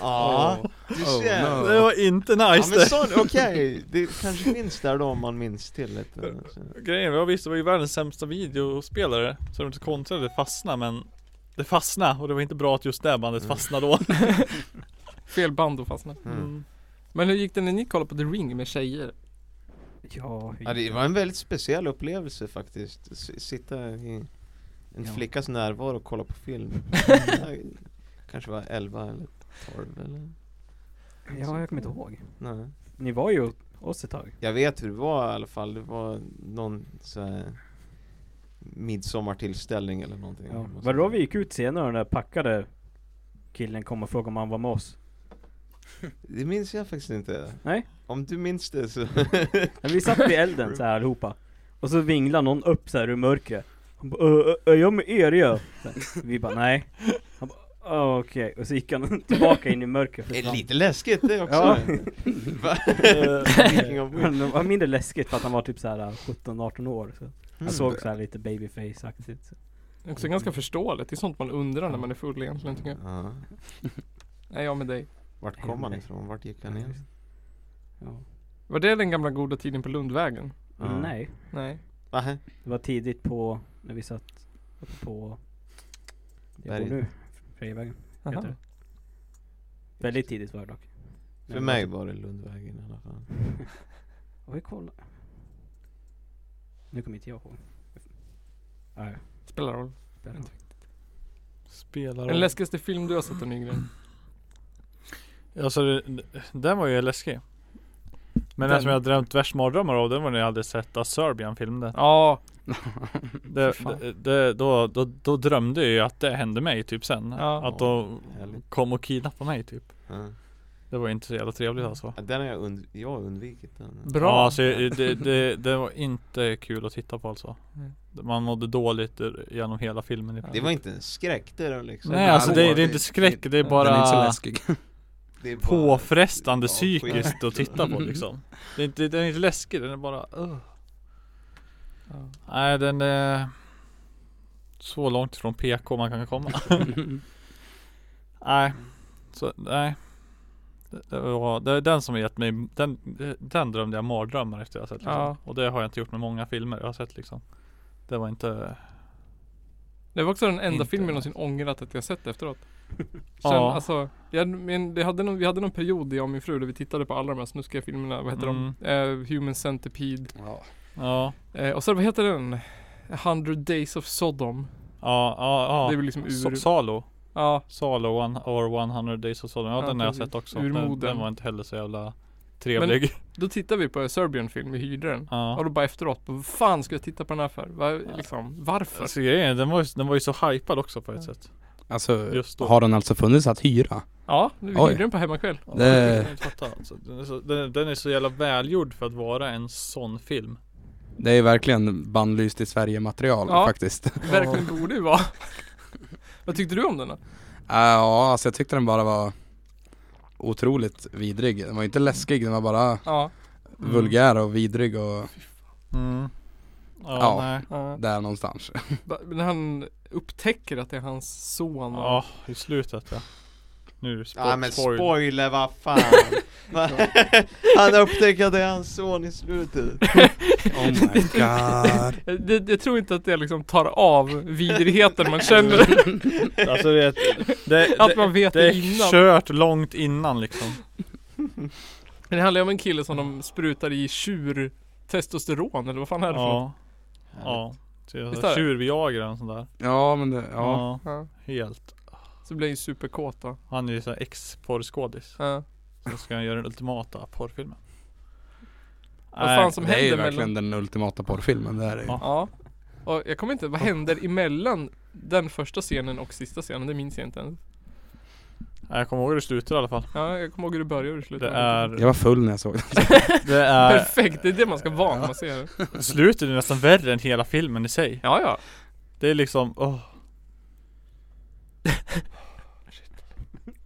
ja, du Oh, ser no. Det var inte Ja nice men det. sån, okej, det kanske finns där då om man minns till lite så. Grejen var visst, det var ju världens sämsta videospelare. Så det var inte så konstigt att det fastnade men det fastnade och det var inte bra att just det bandet Mm. fastnade då. Fel band och fastna. Mm. Men hur gick det när ni kollade på The Ring med tjejer? Ja, Ja, det var en väldigt speciell upplevelse faktiskt, S- sitta i en Ja. flickas närvaro och kolla på film Jag Kanske var 11 eller 12 eller? ja, jag kommer inte ihåg. Nej. Ni var ju oss ett tag. Jag vet hur det var i alla fall, det var någon så här midsommartillställning eller någonting Ja. Var det då vi gick ut senare och den där packade killen kom och frågade om han var med oss? Det minns jag faktiskt inte Nej. Om du minns det så Men vi satt vid elden så här allihopa. Och så vinglade någon upp så här ur mörkret. Han bara, "Ö, ö, ö, jag med er ja. Så här, Vi bara nej. Han bara "Ah, okej. Och så gick han tillbaka in i mörkret. Det är försvann. lite läskigt det också Ja. Va? Speaking of which. Men Det var mindre läskigt för att han var typ så här 17-18 år. Så. Han Mm. såg så här lite babyface-aktigt. så. Det är Också ganska förståeligt. Det är sånt man undrar när man är full egentligen tycker jag. Ja. Nej, jag med dig. Vart kom han ifrån? Vart gick han in? Ja. Var det den gamla goda tiden på Lundvägen? Ja. Nej, Nej. Nähä. det var tidigt på när vi satt uppe på... Jag bor Berget. nu. Frejevägen. Aha. Heter det. Väldigt tidigt var det dock. För mig typ. var det Lundvägen i alla fall Oj, kolla. Nu kommer inte jag ihåg. Nej. Spelar roll. det är det inte. Spelar Den läskigaste film du har sett då Nygren? Alltså det- den var ju läskig. Men den, Den- som jag drömt värst mardrömmar av den var när jag hade sett Serbian filmen Ja. det, fan. det, det, då, då, då drömde jag ju att det hände mig typ sen. Ja. Att de Härligt. kom och kidnappade mig typ. Ja. Det var ju inte så jävla trevligt alltså. Ja, Den har jag, und- jag har undvikit den Bra. Ja, alltså, jag- det, det, det var inte kul att titta på alltså. Mm. Man mådde dåligt genom hela filmen. typ. i Ja. Det var inte en skräck det då liksom Nej alltså det, det är det- inte skräck, det är den är Den är inte så bara läskig. Det är bara- påfrestande Ja, skit. psykiskt att titta på liksom. Det är inte, den är inte läskig, den är bara uh. Ja. Nej den är så långt ifrån PK man kan komma. Nej. Så nej det, det, var, det är den som har gett mig, den, den drömde jag mardrömmar efter jag har sett liksom. Ja. Och det har jag inte gjort med många filmer jag har sett liksom Det var inte Det var också den enda Inte. filmen jag någonsin ångrat att jag sett efteråt. Sen, Ja. alltså, jag, men det hade någon, vi hade någon period jag och min fru där vi tittade på alla de här snuskiga filmerna, vad heter de? Eh, Human Centipede. Ja. Ja Eh, och sen vad heter den? 100 Days of Sodom. Ja, ja, Det är ja väl liksom ur... Sa- Salo ja, Salo one, or 100 days of Sodom Ja, Ja, den har jag precis. sett också Ur den, moden. den var inte heller så jävla trevlig då tittade vi på en Serbian film, vi hyrde den. Ja Och då bara efteråt, bara, vad fan ska jag titta på den här för? Var, liksom, varför? Alltså grejen är, den var, ju, den var ju så hypad också på ett sätt Alltså, Just då. har den alltså funnits att hyra? ja, vi Oj. hyrde den på hemmakväll. Ja, Det- jag kan inte fatta, alltså. den, är så, den, den är så jävla välgjord för att vara en sån film Det är verkligen bannlyst i Sverige material Ja. faktiskt. Verkligen borde ju vara. vad tyckte du om den då? Äh, ja, alltså jag tyckte den bara var otroligt vidrig. Den var inte läskig, den var bara Ja. Mm. vulgär och vidrig och Mm. Ja, Ja. nej. ja. där någonstans. Ba- När eh, han upptäcker att det är hans son. och- Ja, i slutet ja. Nu spo- Ja men spoil. spoiler, vad fan! Va? han upptäcker att det är hans son i slutet Oh my god. Jag, det, jag tror inte att det liksom tar av vidrigheten man känner. Alltså det, är ett- det, det, att man vet det det, är innan. kört långt innan liksom. Men Det handlar ju om en kille som de sprutar i tjur testosteron eller vad fan är det för något? Ja. Ja. Så jag- Visst är det? Tjurviagra och sånt där. Ja men det, ja. Ja. Helt. Så blir han ju superkåt då. Han är ju såhär ex-porrskådis. Ja. Så ska han göra den ultimata porrfilmen. Vad Nej, fan som det är ju händer verkligen mellan... den ultimata porrfilmen, det här är ju. Ja. Ja. Och jag kommer inte, vad händer emellan den första scenen och sista scenen? Det minns jag inte ens. nej, Jag kommer ihåg hur det slutar i alla fall. Ja, jag kommer ihåg hur det börjar och hur slutar. Det är, Jag var full när jag såg den. det är, Perfekt, det är det man ska vara när man ser det. slutet är nästan värre än hela filmen i sig. Ja, ja. Det är liksom, åh.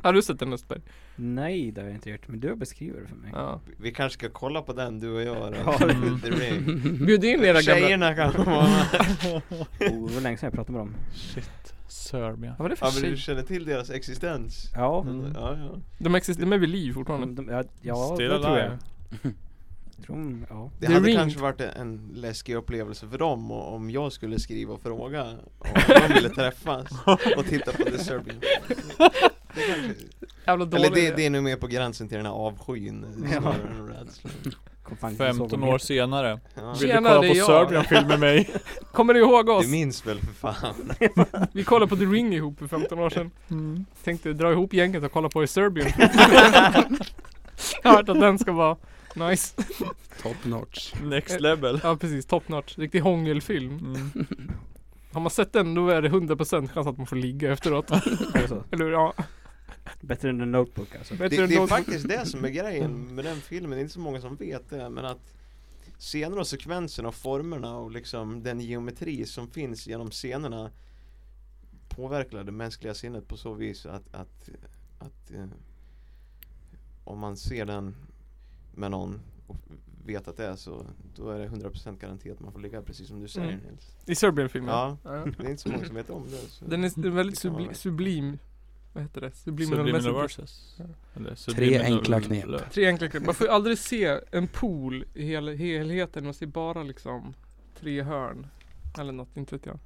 Har du sett den Östberg? Nej det har jag inte gjort, men du beskriver det för mig Ja. Vi kanske ska kolla på den du och jag Ja, då. Mm. The Ring. Bjud in era gamla... Tjejerna kan vara med. oh, det var länge sedan jag pratade med dem Shit. Serbia. Vad var det för Ja men du tjej? känner till deras existens? Ja, Mm. Mm. Ja, ja. De existerar, de är vid liv fortfarande. de, de, ja, ja Still det tror alive. jag tror, de- ja. Det The hade Ring. kanske varit en läskig upplevelse för dem och- om jag skulle skriva och fråga om de ville träffas och titta på The Serbian Det kanske- Jävla dålig. Eller det, det är nog mer på gränsen till den här avskyn snarare än rädslan Kom fan inte sova 15 mer. år senare. ja. Vill Tjena, du kolla det på är jag. Serbian-film med mig? Kommer ni ihåg oss? Du minns väl för fan? Vi kollade på The Ring ihop för 15 år sedan. Mm. Tänkte dra ihop gänget och kolla på i Serbien. Jag har hört att den ska vara nice. Top notch. Next level. Ja precis, top notch. Riktig hångelfilm. Mm. Har man sett den då är det 100% chans att man får ligga efteråt. Är det så? Eller hur? Ja. Alltså, Bättre än The Notebook alltså Bättre Det, än det är något- faktiskt det som är grejen med den filmen, det är inte så många som vet det men att Scener och sekvenserna och formerna och liksom den geometri som finns genom scenerna Påverkar det mänskliga sinnet på så vis att, att, att eh, Om man ser den med någon och vet att det är så Då är det 100% garanti att man får ligga precis som du säger Mm. Nils I Serbienfilmen. Ja, Ja. det är inte så många som vet om det så. Den är, den är väldigt Det kan vara subli, nice. sublim. Vad heter det? Subliminal Subliminal messages. verses. Ja. Eller Tre enkla knep. subliminal- Tre enkla klipp. Man får ju aldrig se en pool i hel, helheten. Man ser bara liksom tre hörn. Eller något, inte vet jag.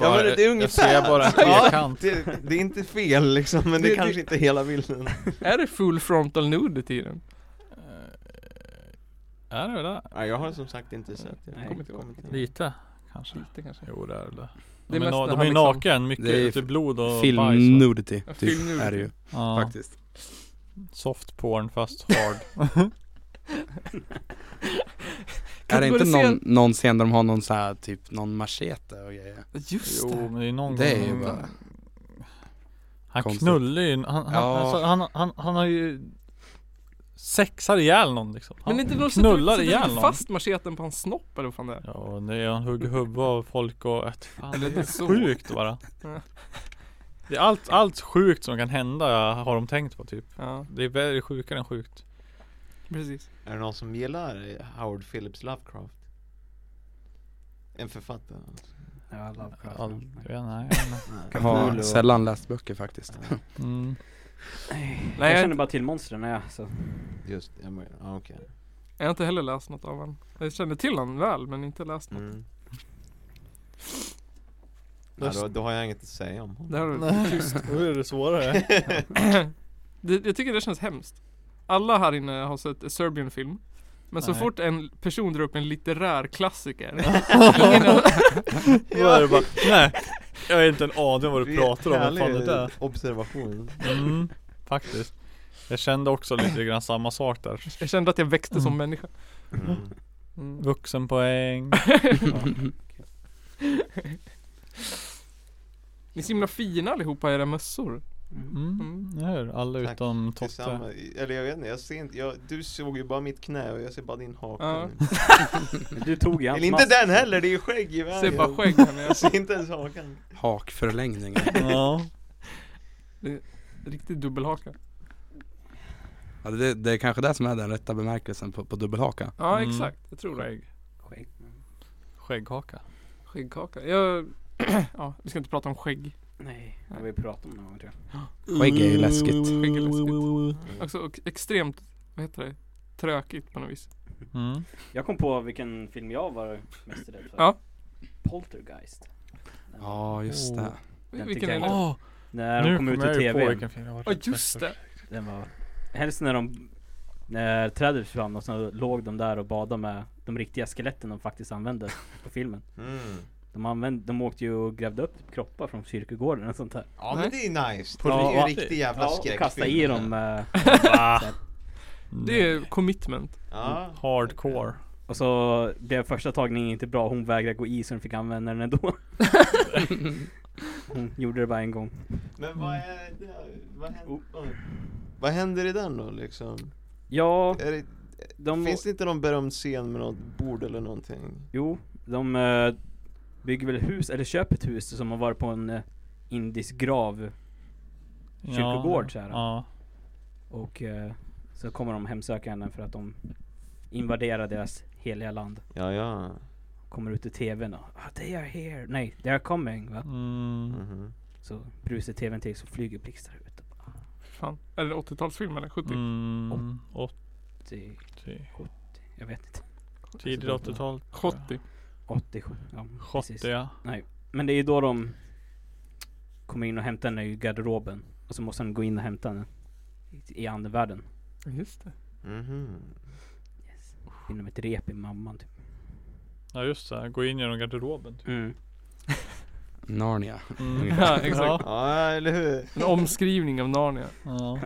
Ja, men det- det är jag ser ungefär bara en Ja, trekant. det, det är inte fel liksom men det, Det- kanske det- inte är hela bilden Är det full frontal nudity i den? Eh, Är det det? Ja, jag har som sagt inte sett det. Nej. Kommer inte ihåg. Lite kanske. Lite kanske. Jo det är det. Det De är, är mest na- när de han är liksom- naken, mycket Det är typ blod och Film bajs. Och, nudity, Ja, typ, film nudity. är det ju ja, faktiskt. soft porn fast hard. Kan är det du inte börja se- någon, någon scen där de har någon så här, typ någon machete och grejer? Just jo men det är någon Det är gång- ju bara- Han konstigt. knullar ju, han, han, Ja. alltså, han, han, han har ju Sexar ihjäl någon liksom. Han Men inte de sätter- knullar sätter ihjäl inte någon. fast macheten på hans snopp eller vad fan det är? Ja, nej, han hugger huvud av folk och ett fan, Eller det är så. sjukt bara. Ja. Det är allt, allt sjukt som kan hända har de tänkt på typ. Ja, Det är väldigt sjukare än sjukt. precis. Är det någon som gillar Howard Phillips Lovecraft? En författare? alltså. Ja, Lovecraft. All, Nej. ja, nej, jag vet inte. Jag Cthulhu har och- sällan läst böcker faktiskt. mm. Nej, jag jag- känner bara till monstren, ja så. Mm. Just det, men- ja, okej. Jag har inte heller läst något av honom. Jag känner till honom väl men inte läst något. Mm. Nej, då, då har jag inget att säga om honom. Det här är Nej. tyst. Nu är det svårare. det, jag tycker det känns hemskt. Alla här inne har sett en Serbian film. Men så Nej. fort en person drar upp en litterär klassiker. ingen ja. har- Då är det bara, nej. Jag har inte en aning om vad du Det är pratar om, vad fan härlig det är. observation. Mm, faktiskt. Jag kände också lite grann samma sak där. jag kände att jag växte som Mm. människa. Mm. Mm. Vuxenpoäng. Ni är så himla fina allihopa i era mössor. Mm, jag hör alla Tack. utom Totte. Tillsammans, eller jag vet inte, jag ser inte, jag, du såg ju bara mitt knä och jag ser bara din haka Ja. nu. Men Du tog ju hans Eller inte mask. den heller, det är ju skägg i vägen Ser bara skägg här när jag Jag ser inte ens hakan Hakförlängningar. Ja. Riktigt dubbelhaka. Ja, det, det är kanske det som är den rätta bemärkelsen på, på dubbelhaka. Ja Mm. exakt, jag tror det. Skägg. Skägghaka. Skäggkaka. Jag, ja, vi ska inte prata om skägg. Nej, det har vi pratat om någon gång tror jag. Skägg är ju läskigt. Skägg är läskigt. Också och extremt, vad heter det? Trökigt på något vis. Mm. Jag kom på vilken film jag var mest rädd för. Ja. Poltergeist. Den- Ja, just det. Den Vilken tycker är jag det? inte. Åh, När de nu kom kom ut jag i ju på tv. vilken film det var. Ja just det! Den var... Helst när de... När trädet försvann och så låg de där och badade med de riktiga skeletten de faktiskt använde på filmen. mm. De, använde, de åkte ju och grävde upp kroppar från kyrkogården och sånt där. Ja Nej. men det är nice, På det är ju riktigt? en riktig jävla Ja, och skräckfilm kastade i dem. eh, Det är commitment. Ja, Hardcore. Och så blev första tagningen inte bra, hon vägrade gå i så de fick använda den ändå. hon gjorde det bara en gång. men vad är det, vad Oh. händer, oj. vad händer i den då liksom? Ja, Är det, de... finns det inte någon berömd scen med något bord eller någonting? Jo, de eh, bygger väl hus, eller köper ett hus som har varit på en eh, indisk grav. Ja, Kyrkogård så här. Ja. Och eh, så kommer de hemsöka henne för att de invaderar deras heliga land. Ja ja, Kommer ut i tvn och ah, they are here, nej they are coming va. Mm. Mhm. Så brusar tvn till så flyger blixtar ut. Fan. Är det 80-talsfilm eller 70? Mm. Det, 80. jag vet inte. Tidigt 80-tal. 70. 87, ja precis. 70 ja. Men det är ju då de kommer in och hämtar henne i garderoben. Och så måste han gå in och hämta henne. i- I andevärlden. Just det. Mm-hmm. Mhm. Inom ett rep i mamman typ. Ja just det, gå in genom garderoben. typ. Mm. Narnia. Mm. Ja, exakt. Ja eller hur? En omskrivning av Narnia. Ja.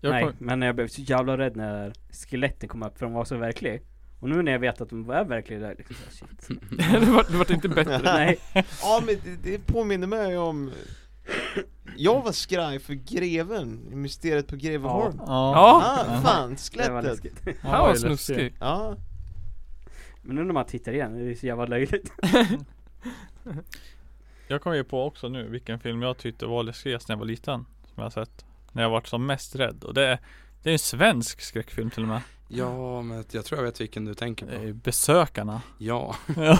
Jag Nej, kom, men jag blev så jävla rädd när skeletten kom upp för de var så verkliga. Och nu när jag vet att de är verkliga där liksom, så här, shit. det vart det vart inte bättre. Nej. Ja men det, det påminner mig om Jag var skraj för greven, i mysteriet på Greveholm ja. Ja. Ah, Det fan, var skelettet! läskigt. Ja, Han var det är läskigt. snuskig. Ja, Men nu när man tittar igen, det är så jävla löjligt. Jag kom ju på också nu vilken film jag tyckte var läskigast när jag var liten. Som jag har sett. När jag varit som mest rädd. Och det är, det är en svensk skräckfilm till och med. Ja, men jag tror jag vet vilken du tänker Det är på. ju Besökarna. Ja.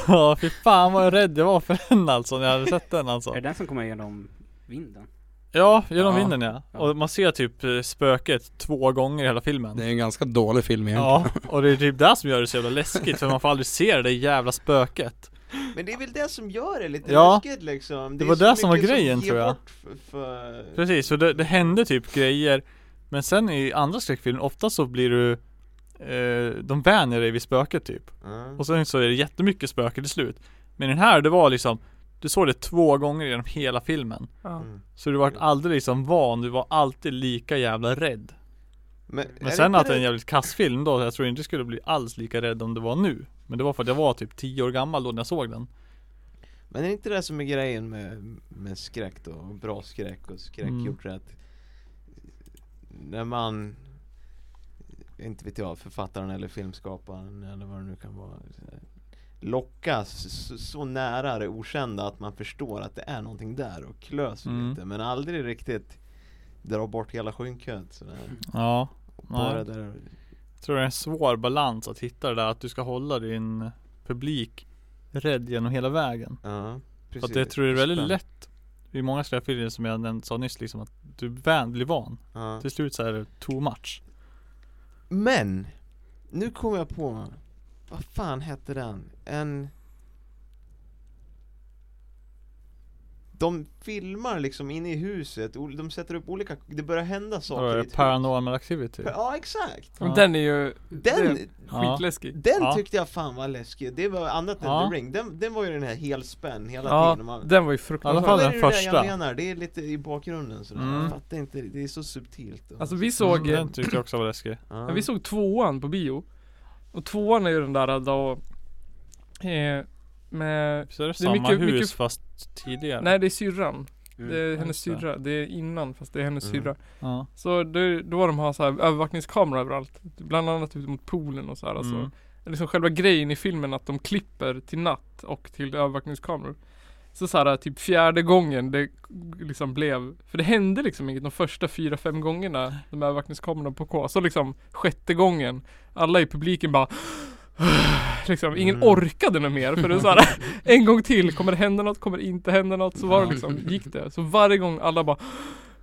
ja, fy fan vad jag rädd jag var för den alltså. När jag hade sett den alltså. Är det den som kommer genom vinden? Ja, genom Ja. vinden ja. Och man ser typ eh, spöket två gånger i hela filmen. Det är en ganska dålig film egentligen. Ja, och det är typ det som gör det så jävla läskigt. För man får aldrig se det där jävla spöket. men det är väl det som gör det lite Ja. läskigt liksom Det är var så det som var mycket grejen, ger tror jag. bort f- för... Precis, så det, det hände typ grejer Men sen i andra skräckfilmer, ofta så blir du eh, De vänjer dig vid spöket typ Ja. Och sen så är det jättemycket spöken till slut Men den här, det var liksom Du såg det två gånger genom hela filmen Ja. Mm. Så du vart aldrig liksom van, du var alltid lika jävla rädd är Men det sen inte att det är en jävligt kass film då, jag tror inte jag skulle bli alls lika rädd om det var nu Men det var för att jag var typ 10 år gammal då när jag såg Mm. den Men är det inte det som är grejen med, med skräck då? Och Bra skräck och skräck Mm. gjort rätt När man Inte vet jag, författaren eller filmskaparen eller vad det nu kan vara Lockas så, så nära det okända att man förstår att det är någonting där och klös Mm. lite men aldrig riktigt Dra bort hela skynket sådär Ja Och Mm. Nej. Bara där Jag tror det är en svår balans att hitta det där att du ska hålla din publik rädd genom hela vägen. Ja, För att jag tror det är väldigt lätt I många skräckfilmer som jag nämnt sa nyss liksom att du van, blir van Ja. Till slut så är det too much Men! Nu kom jag på, vad fan hette den? En... De filmar liksom inne i huset, ol- de sätter upp olika, det börjar hända Då saker är i det ett hus. Paranormal activity Ja, exakt! Ja. Den är ju Den, det är Ja. skitläskig den Ja. tyckte jag fan var läskig, det var annat än Ja. The Ring, den, den var ju den här helspänn hela Ja, tiden man, Den var ju I alla fruktansvärd fall det är den det där första. jag menar, det är lite i bakgrunden sådär, Mm. jag fattar inte, det är så subtilt och, Alltså vi såg, Mm, Den tyckte jag också var läskig ja. ja, vi såg tvåan på bio Och tvåan är ju den där då eh, Med Så är det, Det är samma mycket- hus mycket- fast tidigare Nej det är syrran Mm. Det är ja, hennes just det. syrra, det är innan fast det är hennes Mm. syrra ja. Så det, då de har så här övervakningskamera överallt Bland annat ut mot poolen och så här alltså mm. liksom själva grejen i filmen att de klipper till natt och till övervakningskameror. Så såhär typ fjärde gången det liksom blev, för det hände liksom inget de första fyra, fem gångerna de här övervakningskamerorna på K. Så liksom sjätte gången, alla i publiken bara Liksom, ingen Mm. orkade något mer för det är såhär En gång till, kommer det hända något? Kommer det inte hända något? Så var det liksom, gick det. Så varje gång alla bara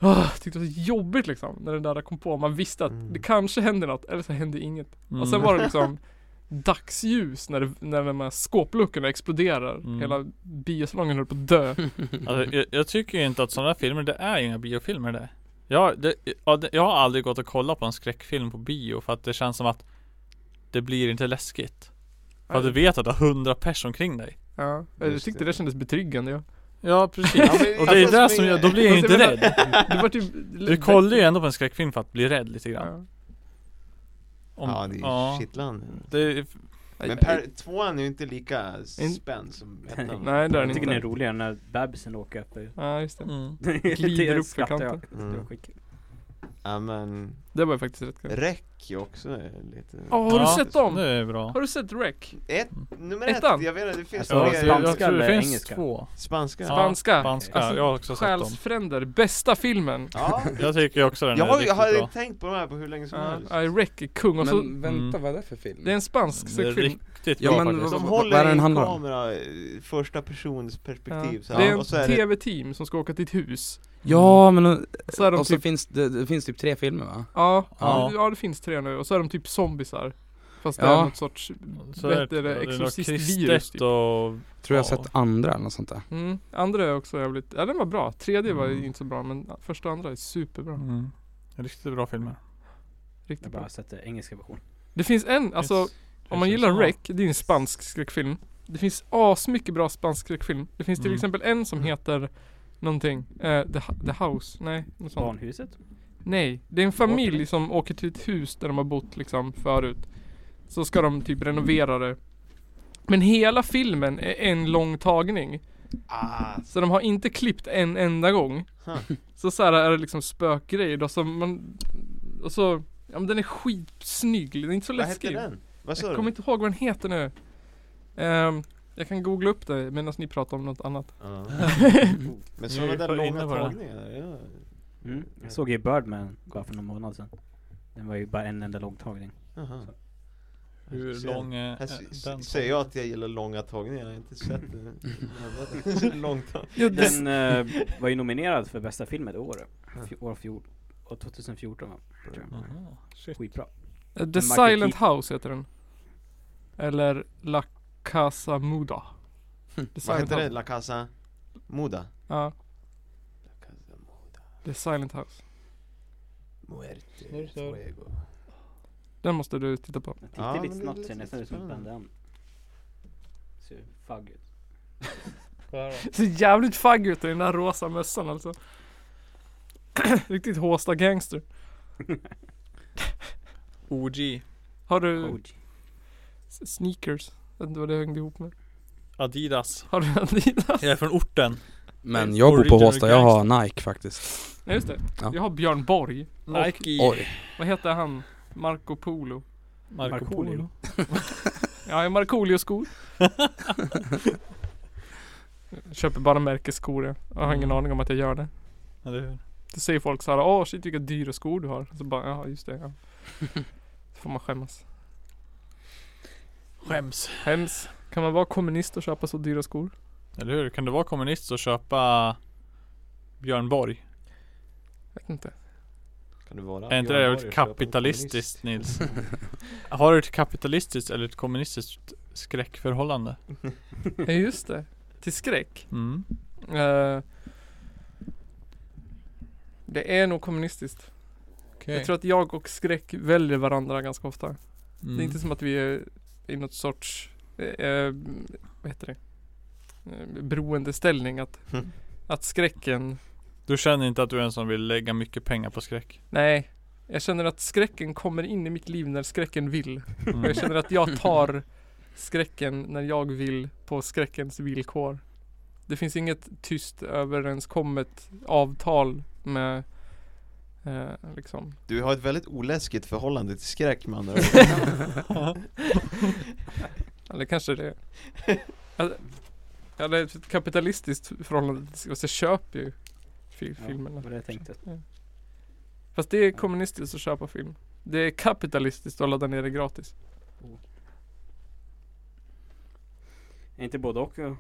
"Åh", Tyckte det var så jobbigt liksom när den där kom på. Man visste att Mm. det kanske hände något eller så hände inget. Mm. Och sen var det liksom dagsljus när, det, när de här skåpluckorna exploderar. Mm. Hela biosalongen höll på att dö. alltså, jag, jag tycker ju inte att sådana filmer, det är ju inga biofilmer det jag, det, ja, det jag har aldrig gått och kollat på en skräckfilm på bio för att det känns som att Det blir inte läskigt För att du vet att det är hundra pers omkring dig Ja, jag Just tyckte det. det kändes betryggande ja. Ja precis Ja, men- Och det är alltså, det som som är- jag, då blir jag Fast inte jag menar- rädd Det var typ Du kollar ju ändå på en skräckfilm för att bli rädd lite grann Ja. Om- Ja, det är ja. kittlande Det är, Men per, tvåan är ju inte lika spänd som ettan Nej det är Jag den tycker den är inte. roligare när bebisen åker upp Ja just det. mm. Glider upp för kanten. Det var mm. skitkul. Ja men, Det var ju faktiskt rätt kul. räck ju också är lite Ja, har du Ja. sett dem? Det är bra Mm. Har du sett Rec? Ett, nummer Ettan. ett, jag vet inte, det finns Ja, Ja, det fler är- Alltså, jag, jag spanska tror det eller finns engelska? två Spanska Ja. Spanska? Spanska, Alltså, jag har också sett dem Själsfränder, bästa filmen. Ja, Jag tycker också den jag, är har, jag riktigt har bra Mm, tänkt på de här på hur länge som Ja, helst ja, Rec är kung. Och så, Mm. Men vänta, vad är det för film? det är en spansk Den är skräckfilm. riktigt Ja, bra men faktiskt vad- De vad- håller vad är i den en handlar om? kamera, eh, första persons perspektiv så Ja. Det här, är och så är ett det tv-team som ska åka till ett hus. Ja men, Eh, och, Så är de så typ, finns det, det finns typ tre filmer va? ja, ja. Ja. det finns tre nu. Och så är de typ zombisar. Fast det Ja. är något sorts Så är bättre det är något exorcistvirus kristet typ. och Tror jag har Ja. sett andra eller något sånt där Mm. Andra är också jävligt, ja den var bra. Tredje var ju Mm. inte så bra men första och andra är superbra. mm. Riktigt bra filmer Riktigt Jag bara bra. har sett det, engelska version. Det finns en, alltså Precis. om man gillar Ja. Rec, det är en spansk skräckfilm. Det finns asmycket bra spansk skräckfilm. Det finns till Mm. exempel en som heter någonting, eh, The, Hu- The House, nej något sånt. Barnhuset? Nej, det är en familj som åker till ett hus där de har bott liksom förut. Så ska de typ renovera det. Men hela filmen är en lång tagning. ah, Så de har inte klippt en enda gång. Huh. Så så här är det liksom spökgrejer då som man... Och så... Ja men den är skitsnygg, den är inte så Vad hette läskig. den? Vad sa Jag du? kommer inte ihåg vad den heter nu. Ehm, jag kan googla upp det medan ni pratar om något annat. Ja. Mm. Men sådana Jag där var inne långa på det. tagningar, ja. Mm. Jag såg ju Birdman bara för någon månad sedan. Den var ju bara en enda långtagning. Jaha. Hur Ser- lång är Här är s- den? s- säger jag att jag gillar långa tagningar, jag har inte sett det. Långt tag. Ja, Den eh, var ju nominerad för bästa film ett år. Fj- år fjol. Och 2014 va? Jaha, shit. Skitbra. Eh, The Michael Silent Keaton. House heter den. Eller La Casa Muda. The Hm, Vad Silent heter det? House. La Casa Muda? Ja, La Casa Muda The Silent House. Muerte Fuego Den måste du titta på. Jag Ja, tittade lite men det snabbt lät så det nästan ut som ett spännande. bandan. Ser fagg ut. Ser jävligt fagg ut i den där rosa mössan alltså. Riktigt håsta gangster. OG Har du OG. s- sneakers? Jag vet inte vad det hängde ihop med. Adidas Har du Adidas? Jag är från orten Men Mm. jag bor på Original Håsta, jag har Nike faktiskt Ja just det. Ja. Jag har Björn Borg. Nike Oj, Vad heter han? Marco Polo. Marco Polo Ja, jag har Markoolio-skor. Jag Köper bara märkesskor jag. Jag har ingen aning om att jag gör det. Eller hur? Då säger folk så här, åh shit vilka dyra skor du har. Så bara, ja just det ja. Så får man skämmas. Skäms. Hemskt. Kan man vara kommunist och köpa så dyra skor? Eller hur? Kan du vara kommunist och köpa Björn Borg? Vet inte. Kan du vara Är inte det ett kapitalistiskt Nils? Har du ett kapitalistiskt eller ett kommunistiskt skräckförhållande? Ja just det. Till skräck. Mm. Eh, det är nog kommunistiskt. Okej. Jag tror att jag och skräck väljer varandra ganska ofta. Det Mm. är inte som att vi är i något sorts, eh, eh, vad heter det? Eh, Beroendeställning att, Mm. att skräcken, Du känner inte att du är en som vill lägga mycket pengar på skräck? nej. Jag känner att skräcken kommer in i mitt liv när skräcken vill. Och Mm. jag känner att jag tar skräcken när jag vill på skräckens villkor. Det finns inget tyst överenskommet avtal med eh, liksom. Du har ett väldigt oläskigt förhållande till skräck med andra ord. Mm. Eller kanske det. Alltså, Jag hade ett kapitalistiskt förhållande till alltså, jag köper ju fil- filmerna. Ja, det var det jag tänkte. Fast det är kommunistiskt att köpa film. Det är kapitalistiskt att ladda ner det gratis. Är inte både och? eh,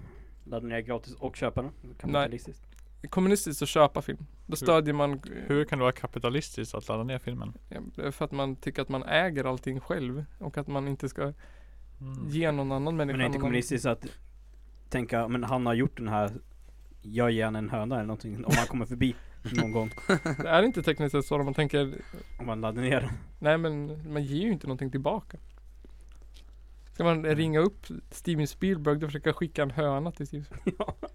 Ladda ner gratis och köpa den? Kapitalistiskt. Det är kommunistiskt att köpa film. Då stödjer man Hur kan det vara kapitalistiskt att ladda ner filmen? eh, för att man tycker att man äger allting själv och att man inte ska Mm. ge någon annan människa Men är inte någon- kommunistiskt att tänka, men han har gjort den här, jag ger han en höna eller någonting om han kommer förbi någon gång. Det är inte tekniskt sett så om man tänker Om man laddar ner den. Nej men man ger ju inte någonting tillbaka. Ska man Mm. ringa upp Steven Spielberg och försöka skicka en höna till Steven Spielberg? Ja.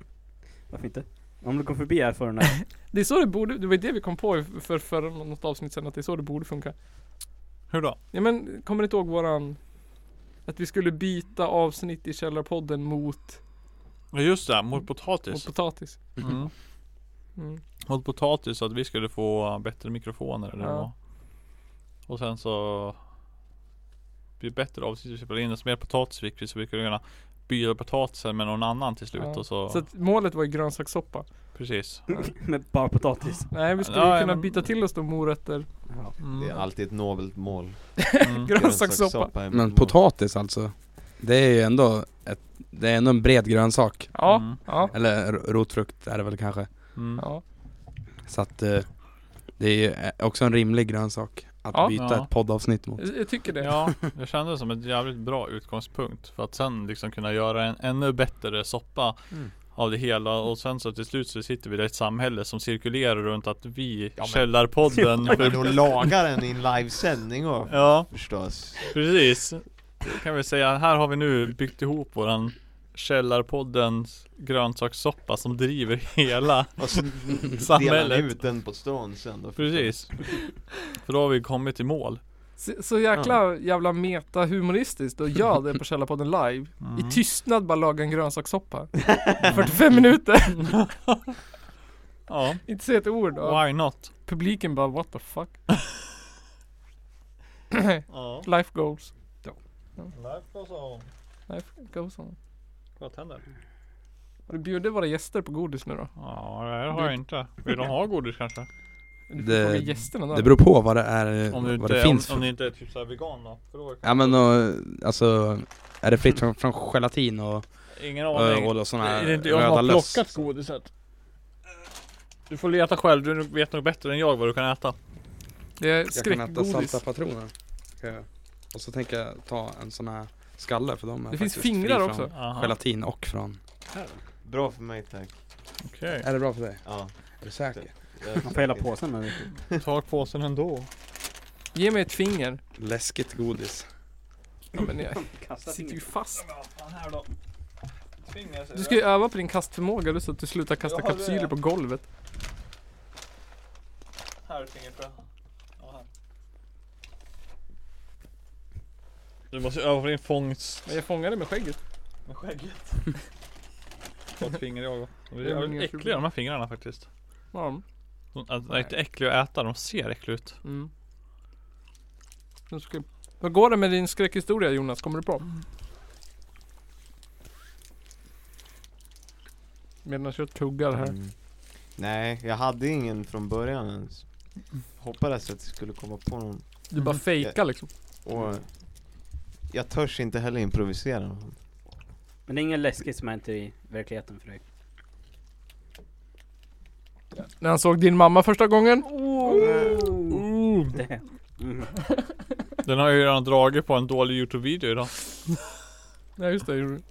Varför inte? Om du kom förbi här för den här. Det är så det borde, det var ju det vi kom på i- för, för något avsnitt sedan att det är så det borde funka. Hur då? Ja men kommer ni inte ihåg våran att vi skulle byta avsnitt i Källarpodden mot, Ja just det, mot mot potatis. potatis? Mm. Mm. Mot potatis så att vi skulle få bättre mikrofoner eller Ja. vad. Och sen så blir bättre avsnitt, vi spelade in desto mer potatis fick vi så vi kunde kunna byta potatisen med någon annan till slut Ja. och så, Så att målet var ju grönsakssoppa. precis. Med bara potatis. Nej vi skulle Ja, kunna men- byta till oss då morötter. Mm. Det är alltid ett nobelt mål. Mm. Grönsakssoppa. är ett Men mål. potatis alltså, det är ju ändå ett, det är ändå en bred grönsak. Ja, Mm. ja, Eller ro- rotfrukt är det väl kanske. Mm. ja. Så att eh, det är ju eh, också en rimlig grönsak att Ja. byta Ja. ett poddavsnitt mot. Jag, jag tycker det. Ja, det kändes som ett jävligt bra utgångspunkt för att sen liksom kunna göra en ännu bättre soppa Mm. av det hela och sen så till slut så sitter vi i ett samhälle som cirkulerar runt att vi, men- Källarpodden, Ja, Men då lagar den i en livesändning och ja förstås. Precis. Kan vi säga, här har vi nu byggt ihop våran Källarpoddens grönsakssoppa som driver hela Och så delar ni samhället. ut den på stan sen då. förstås. Precis. För då har vi kommit i mål. Så, så jäkla jävla meta humoristiskt och gör det på Källarpodden live. Mm. I tystnad bara laga en grönsakssoppa. 45 minuter. Ja, Inte säga ett ord. Och why not? publiken bara what the fuck. Ja. Life goes. Life Life goes on. Och du bjuder våra gäster på godis nu då? Ja, det här har jag inte. Vill de ha godis kanske? Du Det- det, frågar gästerna då. Det beror på vad det är, Om du vad det inte, om, finns för. om du inte är typ såhär vegan då? För då Ja men och, alltså, är det fritt från, från gelatin och, ingen och, aning. och, sådana Det eh, här är inte jag som röda har löss? plockat godiset. Du får leta själv, du vet nog bättre än jag vad du kan äta. Det är Jag kan äta skräckgodis. salta patroner. Kan jag. Och så tänker jag ta en sån här skalle för de är Det finns faktiskt fri fingrar från också. Aha. Gelatin och från... Bra för mig tack. Okej, Är det bra för dig? Ja. Är du säker? Jag- Man får hela påsen med. ta påsen ändå. Ge mig ett finger. Läskigt godis. Ja, men jag Kasta sitter ju fast. här då. Tvingas Du ska ju öva på din kastförmåga du så att du slutar kasta Ja, det är kapsyler jag. på golvet. Här tvingas jag. Ja, här. Du måste öva på din fångst. Men jag fångade med skägget. Med skägget. Vad fingrar jag då? De är Det är jävligt inga äckliga problem. de här fingrarna faktiskt. Ja. De att- de är inte äckliga att äta, de ser äckliga ut. Mm. Nu ska... Vad går det med din skräckhistoria Jonas? Kommer du på? Mm. Medan jag tuggar här. Mm. Nej, jag hade ingen från början ens. Mm. Hoppades att jag skulle komma på någon. Du bara fejkar liksom. Och Jag törs inte heller improvisera. Men det är ingen läskigt som hänt i verkligheten för dig. När han såg din mamma första gången. Mm. Det. Mm. Den har jag ju redan dragit på en dålig Youtube-video idag. Nej just det, gjorde du.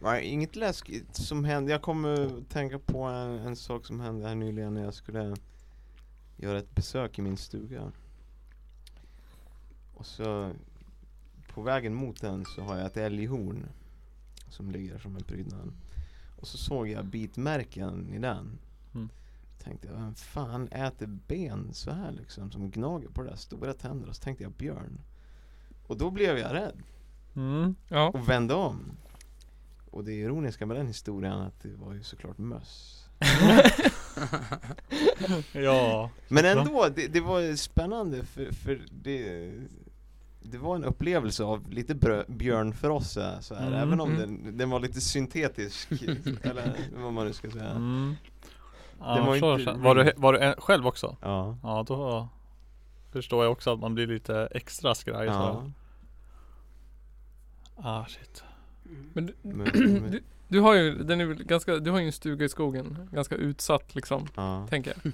Nej, inget läskigt som hände. Jag kommer tänka på en, en sak som hände här nyligen när jag skulle göra ett besök i min stuga. Och så på vägen mot den så har jag ett älghorn som ligger som en prydnad. Och så såg jag bitmärken i den. Mm. Tänkte jag, vem fan äter ben så här liksom som gnager på det där stora tänder? Och så tänkte jag björn. Och då blev jag rädd Mm. Ja. och vände om. Och det ironiska med den historien att det var ju såklart möss. Ja. Men ändå, det, det var spännande för, för det, det var en upplevelse av lite brö, björnfrossa eh, så här, Mm. även om Mm. den, den var lite syntetisk, eller vad man nu ska säga. Mm. Ja, Det var var, inte inte... var, du, var du en, själv också? Ja. Ja, då förstår jag också att man blir lite extra skraj. Ja. Ja. Ah, shit. Men du, Men, men, du, du har ju, den är väl ganska, du har ju en stuga i skogen. Ganska utsatt liksom, ja. tänker jag.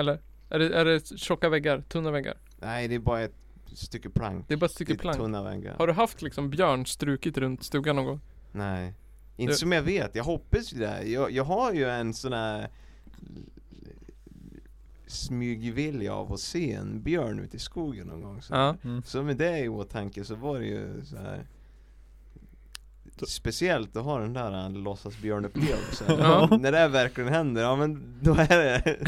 Eller? Är det, är det tjocka väggar? Tunna väggar? Nej, det är bara ett stycke plank. Det är bara ett stycke Lite plank. tunna väggar. Har du haft liksom björn strukit runt stugan någon gång? Nej, inte Du- som jag vet. Jag hoppas ju det. Jag, jag har ju en sån här smygvilja av att se en björn ute i skogen någon gång. Så, Ja. Mm. så med det i åtanke så var det ju så här Speciellt att ha den där äh, låtsasbjörnupplevelsen. Ja. När det här verkligen händer, ja men då är det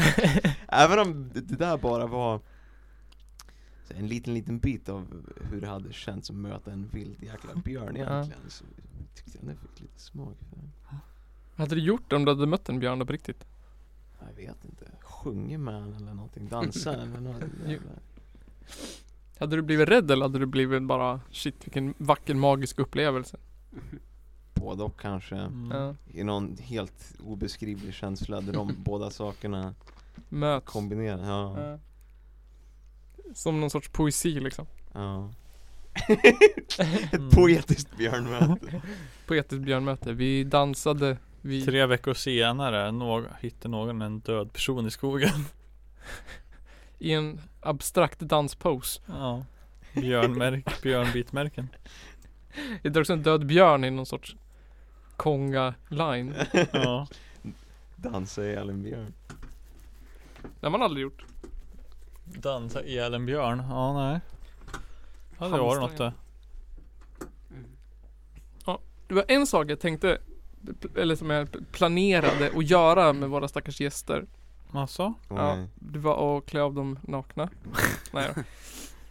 Även om det det där bara var så en liten liten bit av hur det hade känts att möta en vild jäkla björn Ja. egentligen så tyckte jag den fick lite smak för den. Hade du gjort det om du hade mött en björn på riktigt? Jag vet inte, sjunger med den eller någonting, dansar eller något jävla- Hade du blivit rädd eller hade du blivit bara shit vilken vacker magisk upplevelse? Både och kanske, Mm. Ja. i någon helt obeskrivlig känsla där de båda sakerna Möts. kombineras. Ja, Ja. Som någon sorts poesi liksom. ja. Mm. Ett poetiskt björnmöte. Poetiskt björnmöte. Vi dansade, vi... Tre veckor senare nå- hittar någon en död person i skogen. I en abstrakt danspose. Ja. Björnmärk, björnbitmärken. Det är också en död björn i någon sorts konga-line. Eh. Ja. Dansa ihjäl en björn. Det har man aldrig gjort. Dansa ihjäl en björn. Ja, nej. Ja, det var något eh. det. Det var en sak jag tänkte, eller som jag planerade att göra med våra stackars gäster. Alltså? Ja, det var att klä av dem nakna. Nej då.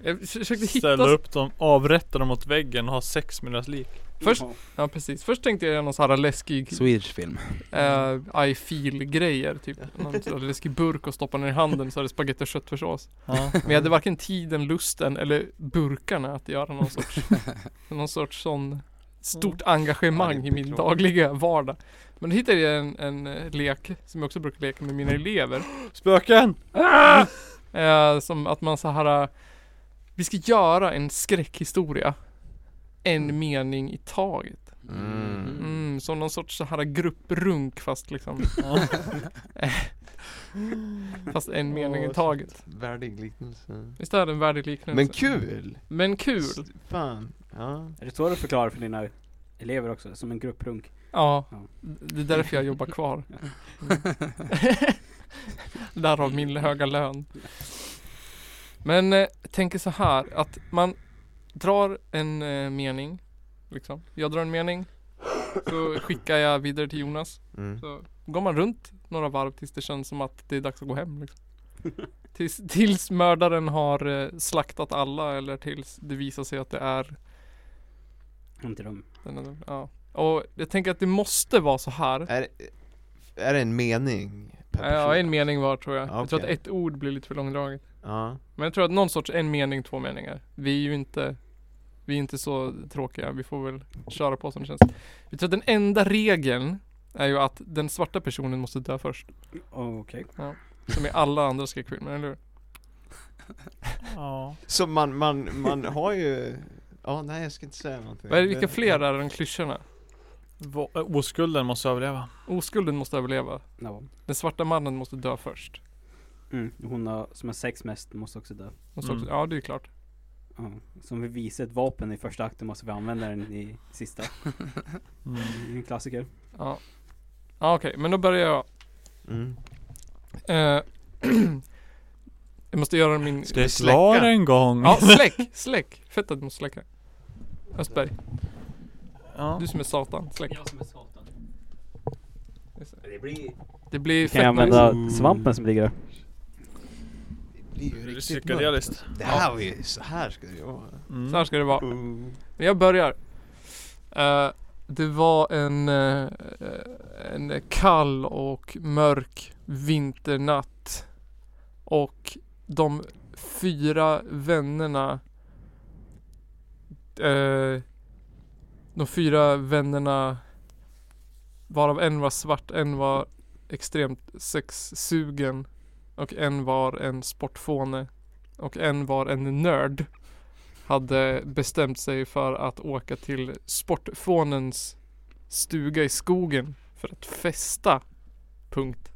Jag försökte hitta... Ställa upp dem, avrätta dem mot väggen och ha sex med deras lik. Först, ja precis. Först tänkte jag göra någon sån här läskig Swedish film. eh, I feel grejer typ. Någon sån här läskig burk och stoppa ner i handen så är det spagetti och köttfärssås. Ja. Men jag hade varken tiden, lusten eller burkarna att göra någon sorts, någon sorts sån stort engagemang i min dagliga vardag. Men då hittade jag en, en eh, lek som jag också brukar leka med mina elever. Spöken! Eh, som att man så här. eh, Vi ska göra en skräckhistoria. En mening i taget. Mm. Mm, som någon sorts så här grupprunk fast liksom. Ja. Fast en mening i Åh, taget. Värdig liknelse. Visst är det en värdig liknelse? Men kul! Men kul! Fan, ja. Är det så du förklarar för dina elever också? Som en grupprunk? Ja. Ja. Det är därför jag jobbar kvar. Därav min höga lön. Men eh, jag tänker så här att man drar en eh, mening. Liksom. Jag drar en mening. Så skickar jag vidare till Jonas. Mm. Så går man runt några varv tills det känns som att det är dags att gå hem. Liksom. Tills, tills mördaren har eh, slaktat alla eller tills det visar sig att det är Inte de. den, den, ja. Och jag tänker att det måste vara så här. Är, är det en mening? per Ja, person? en mening var tror jag. Ja, Jag tror att okej. ett ord blir lite för långdraget. Ja. Men jag tror att någon sorts en mening, två meningar. Vi är ju inte, vi är inte så tråkiga. Vi får väl köra på som det känns. Jag tror att den enda regeln är ju att den svarta personen måste dö först. Okej. Som i alla andra skräckfilmer, eller hur? Ja. Så man, man, man har ju... Ja, nej jag ska inte säga någonting. Vad är det, vilka fler är än klyschorna? Va- eh, Oskulden måste överleva. Oskulden måste överleva. Ja. Den svarta mannen måste dö först. Mm. Hon har, som har sex mest måste också dö. Måste också, Mm. ja, det är ju klart. Ja. Som vi visar ett vapen i första akten måste vi använda den i sista. Mm. Mm. Det är en klassiker. Ja. Ja, okej, men då börjar jag. Mm. Eh, jag måste göra min... Det var en gång. Ja, släck! Släck! Fett att du måste släcka. Östberg, Ja. du som är satan, släck. som är satan. Det blir... Det blir Kan jag fett nice. använda svampen som ligger där? Det är ju Det är riktigt mörkt. Psykedeliskt. Det här var ju, så här ska det ju vara. Mm. Så här ska det vara. Mm. Men jag börjar. Eh, det var en, eh, en kall och mörk vinternatt. Och de fyra vännerna eh, De fyra vännerna Varav en var svart, en var extremt sexsugen och en var en sportfåne och en var en nörd hade bestämt sig för att åka till sportfånens stuga i skogen för att festa. Punkt.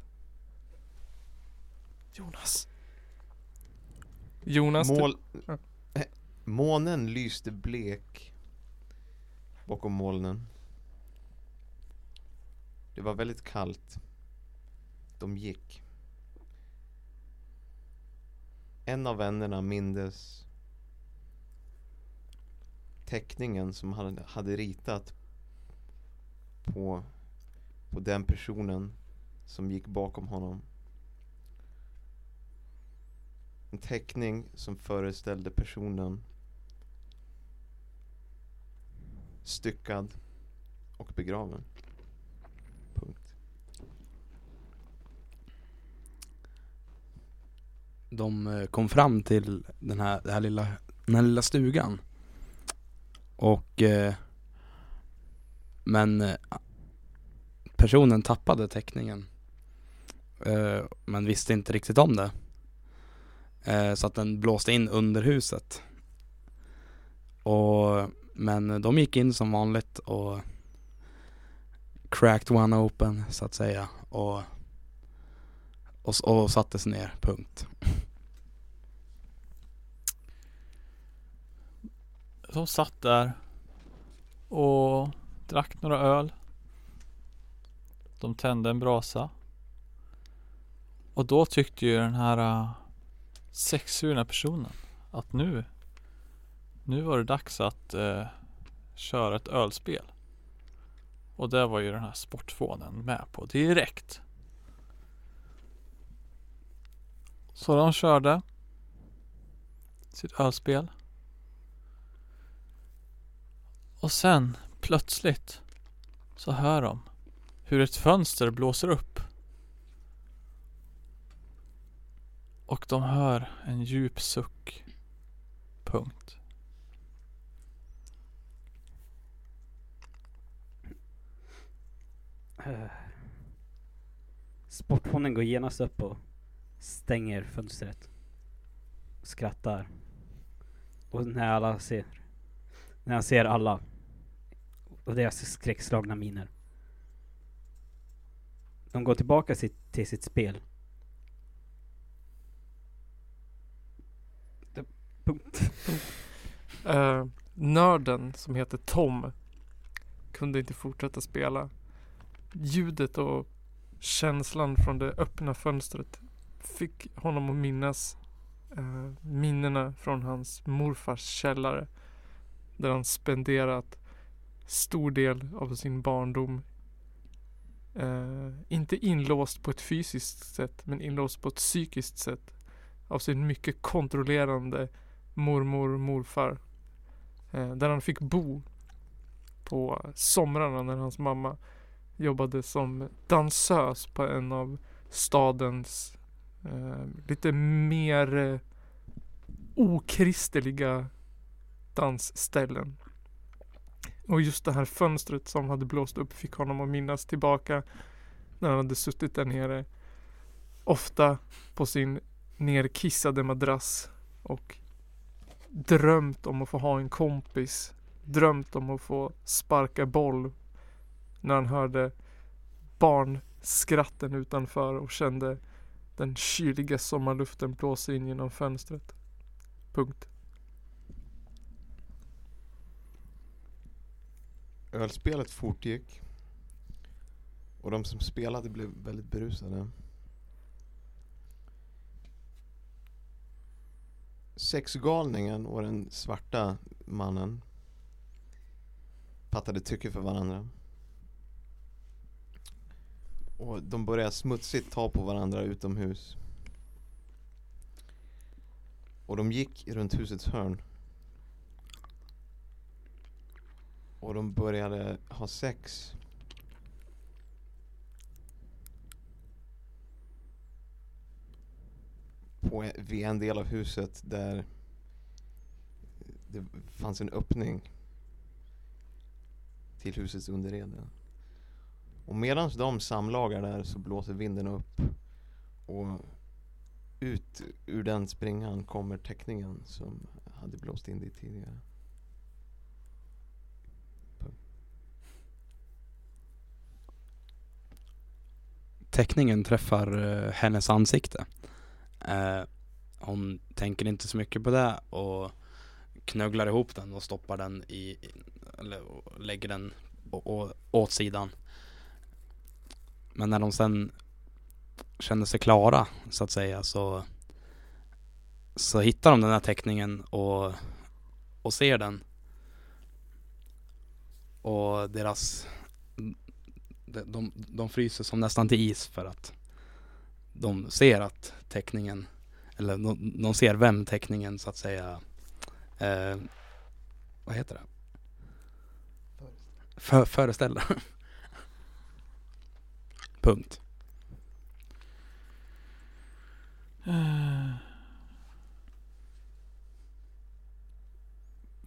Jonas. Jonas. du- Mål... Ja. Eh, Månen lyste blek bakom molnen. Det var väldigt kallt. De gick. En av vännerna mindes teckningen som han hade ritat på, på den personen som gick bakom honom. En teckning som föreställde personen styckad och begraven. Punkt. de eh, kom fram till den här, det här lilla, den här lilla stugan och eh, men eh, personen tappade teckningen eh, men visste inte riktigt om det eh, så att den blåste in under huset och men de gick in som vanligt och cracked one open så att säga och och, s- och satte sig ner, punkt. De satt där och drack några öl. De tände en brasa. Och då tyckte ju den här uh, sexsugna personen att nu, nu var det dags att eh, köra ett ölspel. Och det var ju den här sportfånen med på direkt. Så de körde sitt ölspel. Och sen, plötsligt, så hör de hur ett fönster blåser upp. Och de hör en djup suck. Punkt. Eh. Sportfonden går genast upp och stänger fönstret. Skrattar. Och när alla ser, när jag ser alla och deras skräckslagna miner. De går tillbaka sitt, till sitt spel. Det- Punkt. Eh, nörden som heter Tom kunde inte fortsätta spela. Ljudet och känslan från det öppna fönstret fick honom att minnas eh, minnena från hans morfars källare där han spenderat stor del av sin barndom. Eh, inte inlåst på ett fysiskt sätt men inlåst på ett psykiskt sätt av sin mycket kontrollerande mormor och morfar eh, där han fick bo på somrarna när hans mamma jobbade som dansös på en av stadens eh, lite mer eh, okristliga dansställen. Och just det här fönstret som hade blåst upp fick honom att minnas tillbaka när han hade suttit där nere. Ofta på sin nerkissade madrass och drömt om att få ha en kompis. Drömt om att få sparka boll när han hörde barnskratten utanför och kände den kyliga sommarluften blåsa in genom fönstret. Punkt. Ölspelet fortgick. Och de som spelade blev väldigt berusade. Sexgalningen och den svarta mannen fattade tycke för varandra. Och de började smutsigt ta på varandra utomhus. Och de gick runt husets hörn. Och de började ha sex. På, en- vid en del av huset där det fanns en öppning till husets underrede. Och medan de samlagar där så blåser vinden upp och ut ur den springan kommer teckningen som hade blåst in dit tidigare. Teckningen träffar eh, hennes ansikte. Eh, hon tänker inte så mycket på det och knögglar ihop den och stoppar den i, i- eller och lägger den å, å, åt sidan. Men när de sen känner sig klara så att säga så så hittar de den här teckningen och, och ser den. Och deras de, de, de fryser som nästan till is för att de ser att teckningen, eller de, de ser vem teckningen så att säga, eh, vad heter det? För, föreställer. Punkt.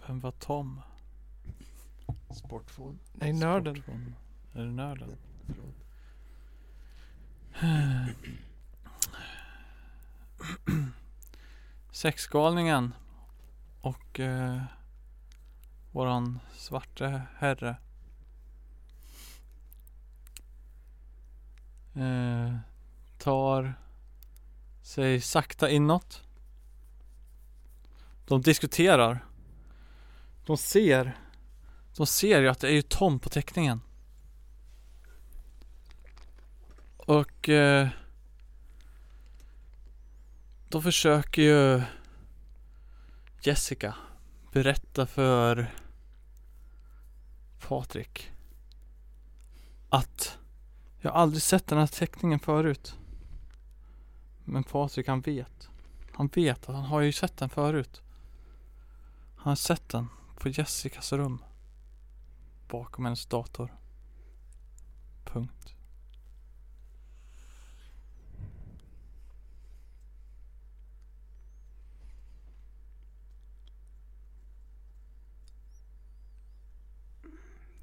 Vem var Tom? Sportfån. Nej, nörden. Sportfån. Är det nörden? Sexgalningen och eh, våran svarte herre. Eh, tar sig sakta inåt. De diskuterar. De ser. De ser ju att det är ju Tom på teckningen. Och eh, då försöker ju Jessica berätta för Patrik att jag har aldrig sett den här teckningen förut. Men Patrik han vet. Han vet att han har ju sett den förut. Han har sett den på Jessicas rum. Bakom hennes dator. Punkt.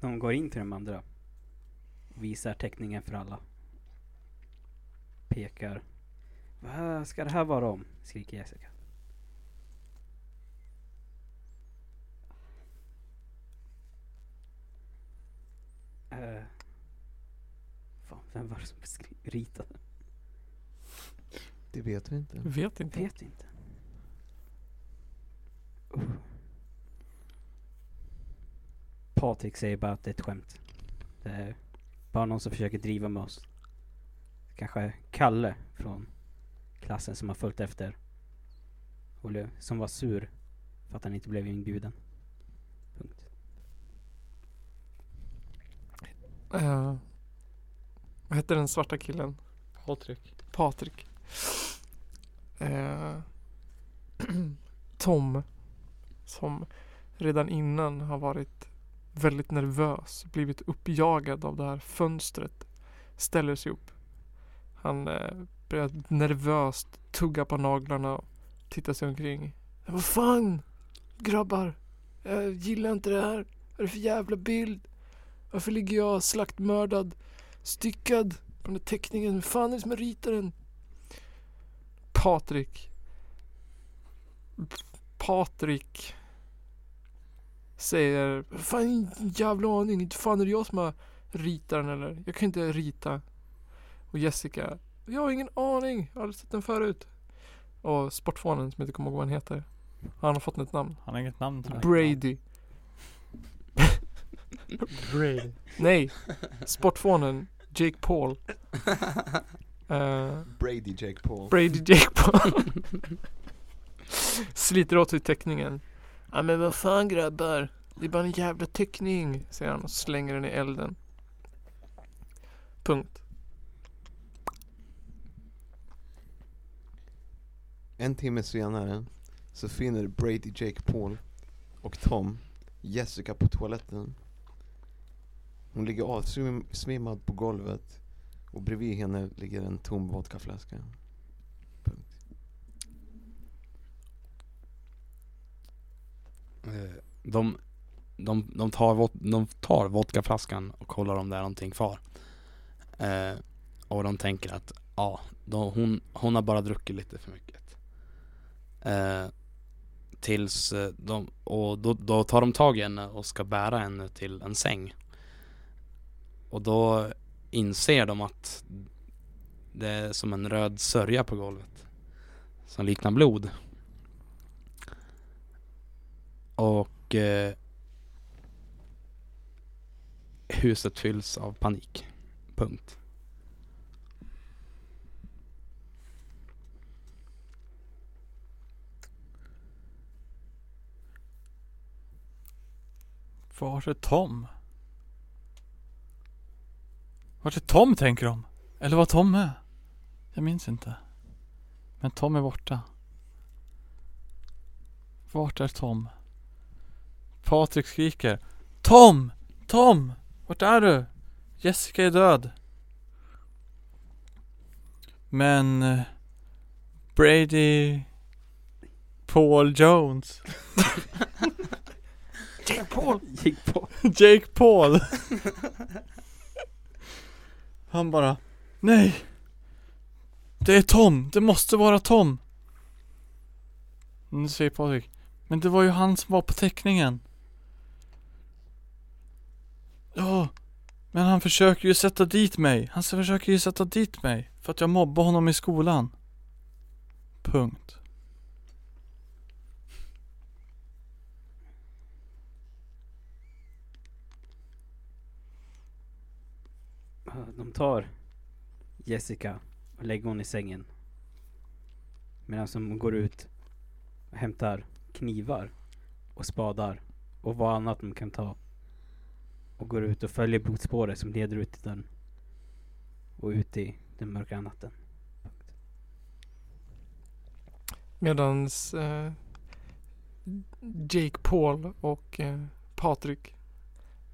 De går in till de andra. Visar teckningen för alla. Pekar. Vad ska det här vara om? Skriker Jessica. Eh, fan, vem var det som beskri- ritade? Det vet vi inte. Vet inte. Vet inte. Uh. Patrik säger bara att det är ett skämt. Det är bara någon som försöker driva med oss. Kanske Kalle från klassen som har följt efter. Och le- som var sur för att han inte blev inbjuden. Punkt. Eh, vad hette den svarta killen? Patrik. Patrik. Eh, Tom. Som redan innan har varit väldigt nervös. Blivit uppjagad av det här fönstret. Ställer sig upp. Han eh, börjar nervöst tugga på naglarna och titta sig omkring. Vad fan grabbar. Jag gillar inte det här. Vad är det för jävla bild? Varför ligger jag slaktmördad, styckad på den här teckningen? Hur fan är det som ritar den? Patrik. Patrik. Säger, fan jävla aning, inte fan är det jag som har ritat den eller? Jag kan inte rita. Och Jessica, jag har ingen aning, jag har aldrig sett den förut. Och sportfånen som jag inte kommer ihåg vad han heter. Han har fått ett namn. Han har inget namn tror jag. Brady. Brady. Nej, sportfånen Jake Paul. Eh, Brady Jake Paul Brady Jake Paul Sliter åt sig teckningen Ja men vad fan grabbar Det är bara en jävla teckning Säger han och slänger den i elden Punkt En timme senare så finner Brady Jake Paul och Tom Jessica på toaletten. Hon ligger avsvimmad på golvet och bredvid henne ligger en tom vodkaflaska. Punkt. Eh, De, de, de, tar, vod- de tar vodkaflaskan och kollar om det är någonting kvar. Eh, och de tänker att ja, då, hon, hon har bara druckit lite för mycket. Eh, tills eh, de, och då, då tar de tag i henne och ska bära henne till en säng. Och då inser de att det är som en röd sörja på golvet. Som liknar blod. Och och eh, huset fylls av panik. Punkt. Var är Tom? Vart är Tom tänker de? Eller var Tom är? Jag minns inte. Men Tom är borta. Vart är Tom? Patrik skriker. Tom! Tom! Vart är du? Jessica är död. Men... eh, Brady... Paul Jones. Jake Paul Gick på. Jake Paul Han bara Nej Det är Tom, det måste vara Tom Nu säger Patrik Men det var ju han som var på teckningen Ja Men han försöker ju sätta dit mig Han försöker ju sätta dit mig För att jag mobbade honom i skolan Punkt De tar Jessica och lägger hon i sängen. Medan de går ut och hämtar knivar och spadar och vad annat de kan ta. Och går ut och följer blodspåret som leder ut till den. Och ut i den mörka natten. Medans eh, Jake Paul och eh, Patrik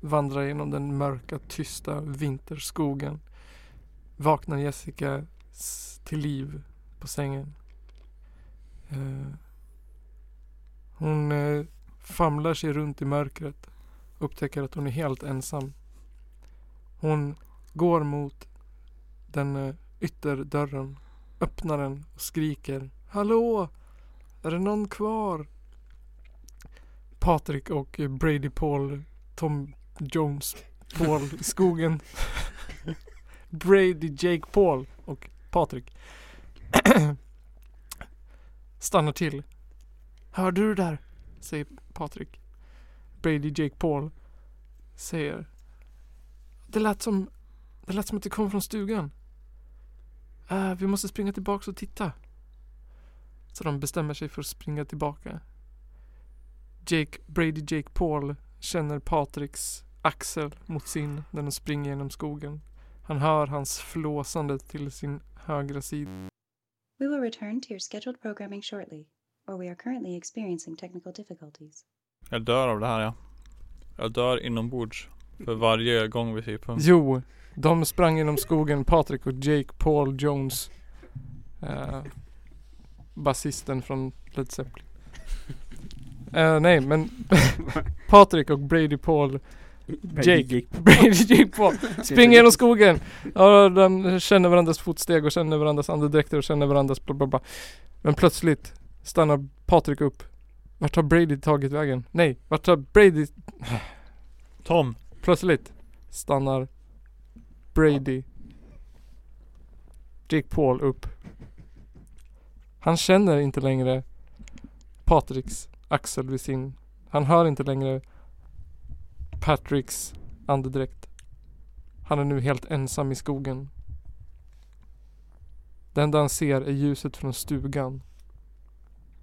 vandrar genom den mörka, tysta vinterskogen. Vaknar Jessica s- till liv på sängen. Eh, hon eh, famlar sig runt i mörkret och upptäcker att hon är helt ensam. Hon går mot den eh, ytterdörren, öppnar den och skriker Hallå! Är det någon kvar? Patrik och eh, Brady Paul, Tom Jones Paul i skogen. Brady Jake Paul och Patrik. Stannar till. Hörde du det där? Säger Patrik. Brady Jake Paul säger. Det lät som, det lät som att det kom från stugan. Eh, vi måste springa tillbaks och titta. Så de bestämmer sig för att springa tillbaka. Jake, Brady Jake Paul känner Patriks axel mot sin när de springer genom skogen. Han hör hans flåsande till sin högra sida. We will return to your scheduled programming shortly, or we are currently experiencing technical difficulties. Jag dör av det här ja Jag dör inombords För varje gång vi säger punkt Jo, de sprang genom skogen, Patrik och Jake Paul Jones. Eh, Basisten från Led Zeppelin. Eh, nej, men Patrik och Brady Paul Jake. Brady gick på. Springer genom skogen. Ja, de känner varandras fotsteg och känner varandras andedräkter och känner varandras bla bla bla. Men plötsligt stannar Patrik upp. Vart har Brady tagit vägen? Nej, vart har Brady... Tom. Plötsligt stannar Brady Jake Paul upp. Han känner inte längre Patricks axel vid sin... Han hör inte längre Patricks andedräkt. Han är nu helt ensam i skogen. Det enda han ser är ljuset från stugan.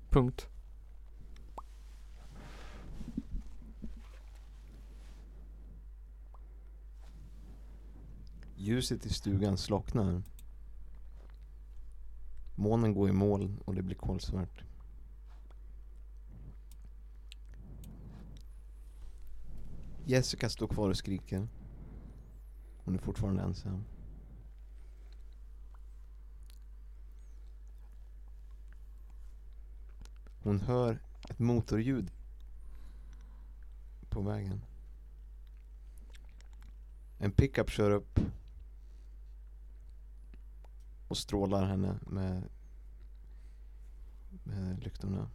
Punkt. Ljuset i stugan slocknar. Månen går i moln och det blir kolsvart. Jessica står kvar och skriker. Hon är fortfarande ensam. Hon hör ett motorljud på vägen. En pickup kör upp och strålar henne med, med lyktorna.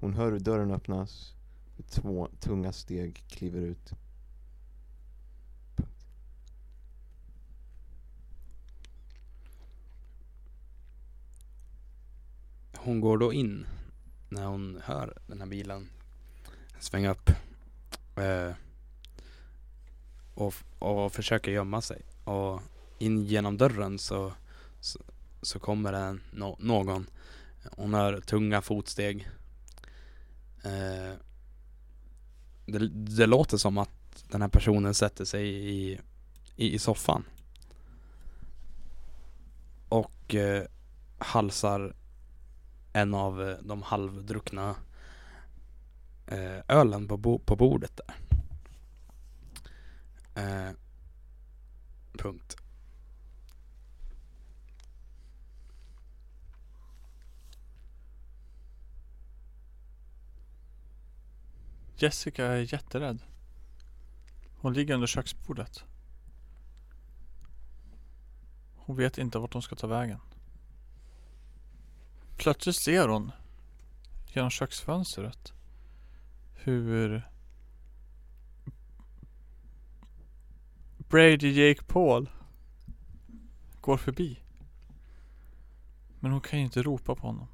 Hon hör hur dörren öppnas. Hur Två tunga steg kliver ut. Punkt. Hon går då in när hon hör den här bilen svänga upp. Eh, och, f- och försöker gömma sig. Och in genom dörren så, så, så kommer det nå- någon. Hon hör tunga fotsteg. Eh, det, det låter som att den här personen sätter sig i, i, i soffan. Och eh, halsar en av eh, de halvdruckna eh, ölen på, bo- på bordet där. Eh, punkt. Jessica är jätterädd. Hon ligger under köksbordet. Hon vet inte vart hon ska ta vägen. Plötsligt ser hon genom köksfönstret hur Brady Jake Paul går förbi. Men hon kan ju inte ropa på honom.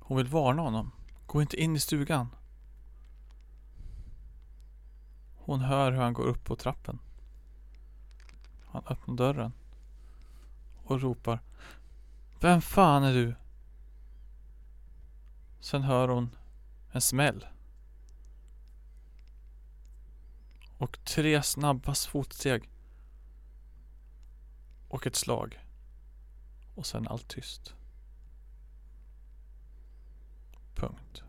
Hon vill varna honom. Gå inte in i stugan. Hon hör hur han går upp på trappen. Han öppnar dörren. Och ropar. Vem fan är du? Sen hör hon en smäll. Och tre snabba fotsteg. Och ett slag. Och sen allt tyst. Punkt.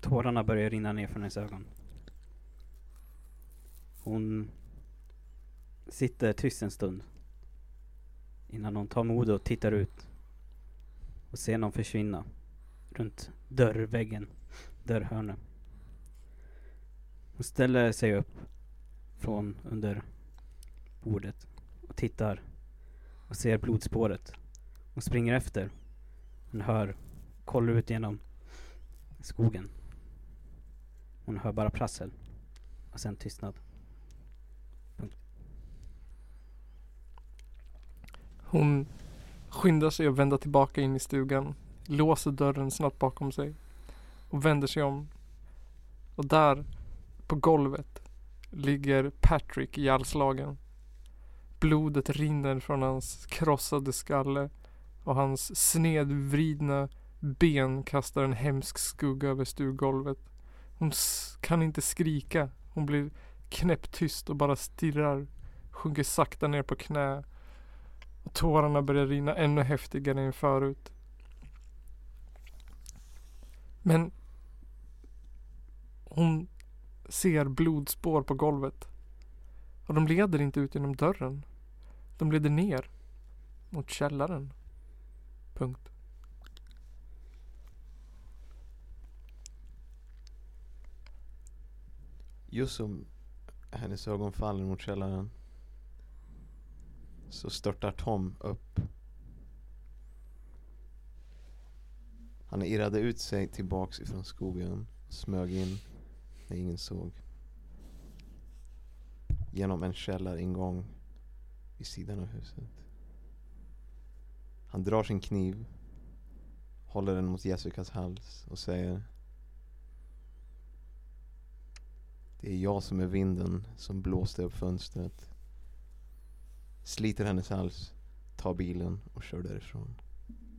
Tårarna börjar rinna ner från hennes ögon. Hon sitter tyst en stund. Innan hon tar mod och tittar ut. Och ser någon försvinna. Runt dörrväggen. Dörrhörnet. Hon ställer sig upp. Från under bordet. Och tittar. Och ser blodspåret. Hon springer efter. Hon hör. Kollar ut genom skogen. Hon hör bara prassel. Och sen tystnad. Hon skyndar sig att vända tillbaka in i stugan. Låser dörren snabbt bakom sig. Och vänder sig om. Och där, på golvet, ligger Patrick ihjälslagen. Blodet rinner från hans krossade skalle och hans snedvridna ben kastar en hemsk skugga över stugolvet. Hon s- kan inte skrika. Hon blir knäpptyst och bara stirrar. Sjunker sakta ner på knä och tårarna börjar rinna ännu häftigare än förut. Men hon ser blodspår på golvet. Och de leder inte ut genom dörren. De leder ner. Mot källaren. Punkt. Just som hennes ögon faller mot källaren så störtar Tom upp. Han irrade ut sig tillbaks ifrån skogen, smög in när ingen såg. Genom en källaringång vid sidan av huset. Han drar sin kniv, håller den mot Jessicas hals och säger Det är jag som är vinden som blåste upp fönstret. Sliter hennes hals, tar bilen och kör därifrån.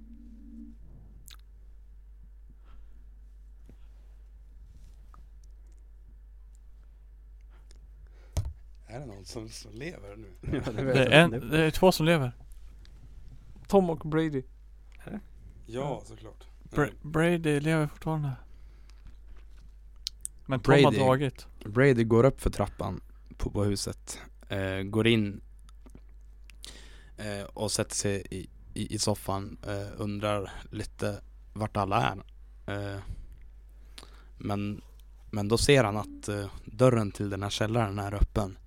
Är det någon som, som lever nu? Det är, en, det är två som lever. Tom och Brady. Ja, såklart. Bra- Brady lever fortfarande. Men Tom har Brady. dragit. Brady går upp för trappan på, på huset, eh, går in eh, och sätter sig i, i, i soffan, eh, undrar lite vart alla är. Eh, men, men då ser han att eh, dörren till den här källaren är öppen.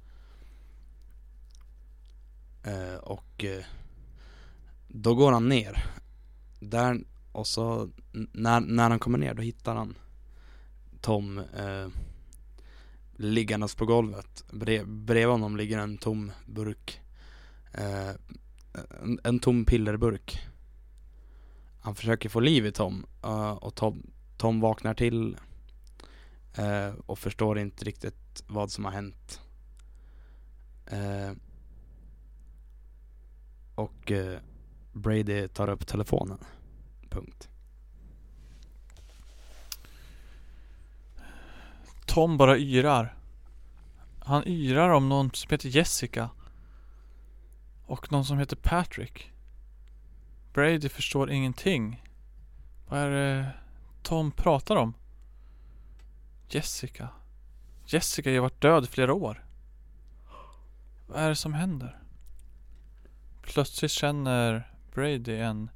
Eh, och eh, då går han ner. Där, och så n- när, när han kommer ner då hittar han Tom eh, liggandes på golvet. Brev, bredvid honom ligger en tom burk. Eh, en, en tom pillerburk. Han försöker få liv i Tom eh, och Tom, Tom vaknar till eh, och förstår inte riktigt vad som har hänt. Eh, och eh, Brady tar upp telefonen. Punkt. Tom bara yrar. Han yrar om någon som heter Jessica. Och någon som heter Patrick. Brady förstår ingenting. Vad är det Tom pratar om? Jessica. Jessica har ju varit död i flera år. Vad är det som händer? Plötsligt känner Brady en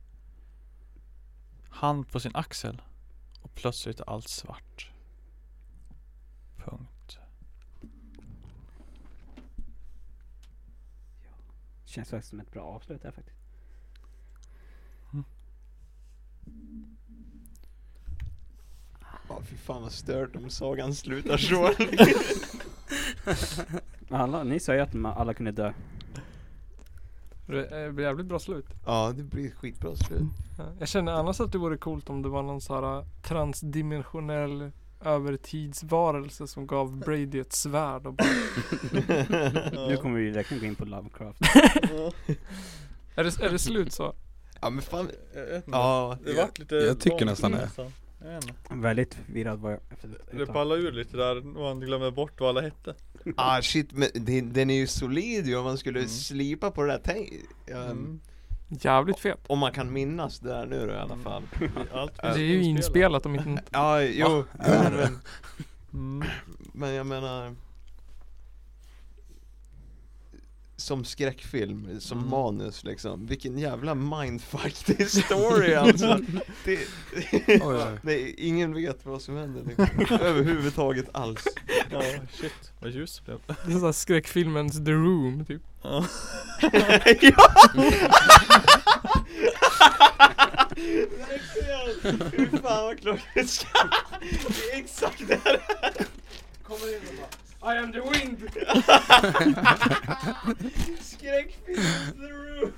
hand på sin axel. Och plötsligt är allt svart. Punkt. Känns faktiskt som ett bra avslut här faktiskt. Ja, fy fan vad stört om sagan slutar så. Alla, ni sa ju att ma- alla kunde dö. Det är ett jävligt bra slut. ja, det blir ett skitbra slut. Ja, Jag känner annars att det vore coolt om det var någon sån här äh, transdimensionell övertidsvarelse som gav Brady ett svärd och bara, Nu kommer vi verkligen gå in på Lovecraft. är, det, är det slut så? Ja men fan. Ja, det vart lite jag tycker långt nästan det. nästan. Jag vet inte. Väldigt förvirrad var jag efter ett Det tag. pallade ur lite där och han glömde bort vad alla hette. Ah shit, men den, den är ju solid ju om man skulle Mm. slipa på det där. Tänk, ehm, Jävligt fet. Om man kan minnas det där nu då, i alla fall. Mm. Allt Det är ju inspelat om inte Ja, jo. är det? men, Mm. men jag menar. Som skräckfilm, som Mm. manus liksom. Vilken jävla mindfuck det är story alltså. Det, Oj, oj. nej, ingen vet vad som händer liksom. Överhuvudtaget alls. Ja, shit. Vad ljus det blev. det är sån här skräckfilmens The Room typ. Ja. Verkligen! Fy fan vad klockrent! Det är exakt det här! Kommer in och bara I am the wind! Skräckfilm the room!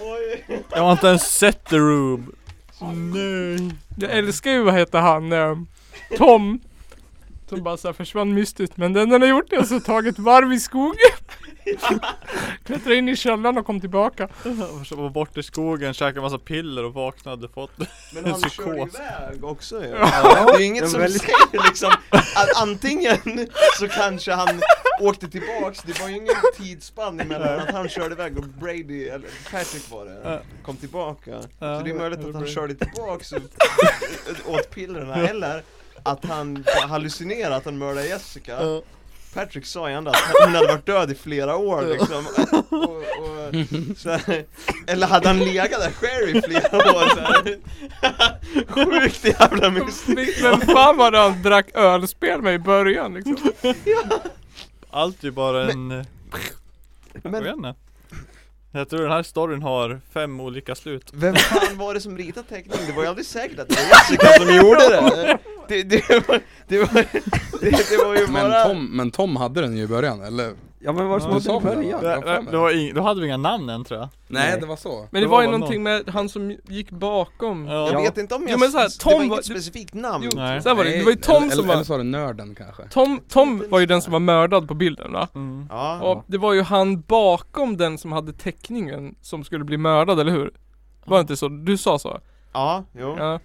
Oj! Jag har inte ens sett The Room. Nej. Jag älskar ju vad heter han, eh, Tom. Som bara så här försvann mystiskt. Men den den har gjort det är alltså tagit varv i skogen. Klättrade in i källaren och kom tillbaka. Jag försökte vara bort i skogen, käkade massa piller och vaknade fått Men han Psykos. kör iväg också ju. Det är inget som säger liksom att antingen så kanske han åkte tillbaks, det var ju ingen tidsspann emellan att han körde iväg och Brady, eller Patrick var det, kom tillbaka. Så det är möjligt att han körde tillbaks och åt pillerna eller att han hallucinerade att han mördade Jessica. Patrick sa ju ändå att hon hade varit död i flera år liksom och, och, så här, Eller hade han legat där själv i flera år så här. Sjukt jävla mysigt Men fan vad han drack ölspel med i början liksom. Allt är bara en... eh, Jag vet inte Jag tror den här storyn har fem olika slut Vem fan var det som ritade teckningen? Det var ju aldrig säkert att det var Jessica som gjorde det! Det, det, var, det, var, det, det var ju bara... Men Tom, men Tom hade den ju i början, eller? Ja men var Du det som sa hade väl det i det? början? Jag Äh, har för mig. då, då hade vi inga namn än tror jag Nej det var så. Men det Det var ju var bara någonting med han som gick bakom. Ja. Jag vet inte om jag... Jo, men så här, det Tom var var- inget specifikt namn Jo, så Nej. här var det. Det var ju Nej, Tom eller, som eller, var... eller så var det nörden kanske. Tom, Tom var ju den som var mördad på bilden va? mm. Ja, Och det var ju han bakom den som hade teckningen som skulle bli mördad, eller hur? Var det inte så? Du sa så? ja, jo Ja.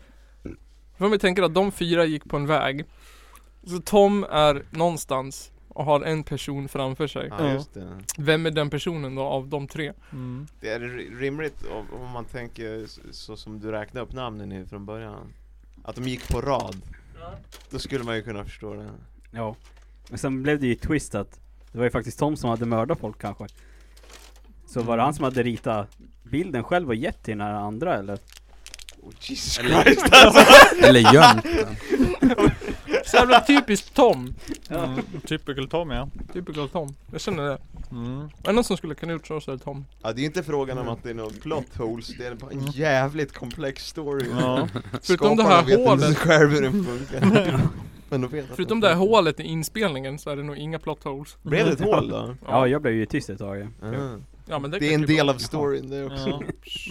För om vi tänker att de fyra gick på en väg. Så Tom är någonstans och har en person framför sig. Ja just det Vem är den personen då av de tre? Mm. Det är ri- rimligt om, om man tänker så, så som du räknade upp namnen i från början Att de gick på rad Då skulle man ju kunna förstå det Ja. Men sen blev det ju ett twist att det var ju faktiskt Tom som hade mördat folk kanske. Så var det han som hade ritat bilden själv och gett till den här andra eller? oh, Jesus Eller- Christ alltså! Eller gömt den. Så jävla typiskt Tom. Mm. Typical Tom ja Typical Tom. Jag känner det. mm. Är det någon som skulle kunna gjort så så är det Tom. Ja det är ju inte frågan Mm. om att det är något plot holes, det är bara en jävligt komplex story Ja, Förutom det här Skaparna vet hålet. inte själv hur den funkar Men de vet att Förutom den det här funkar. hålet i inspelningen så är det nog inga plot holes. Blev det ett hål då? Ja, jag blev ju tyst ett tag. ja. Ah. Ja men det, Det är kan en ju del vara. av storyn det också ja.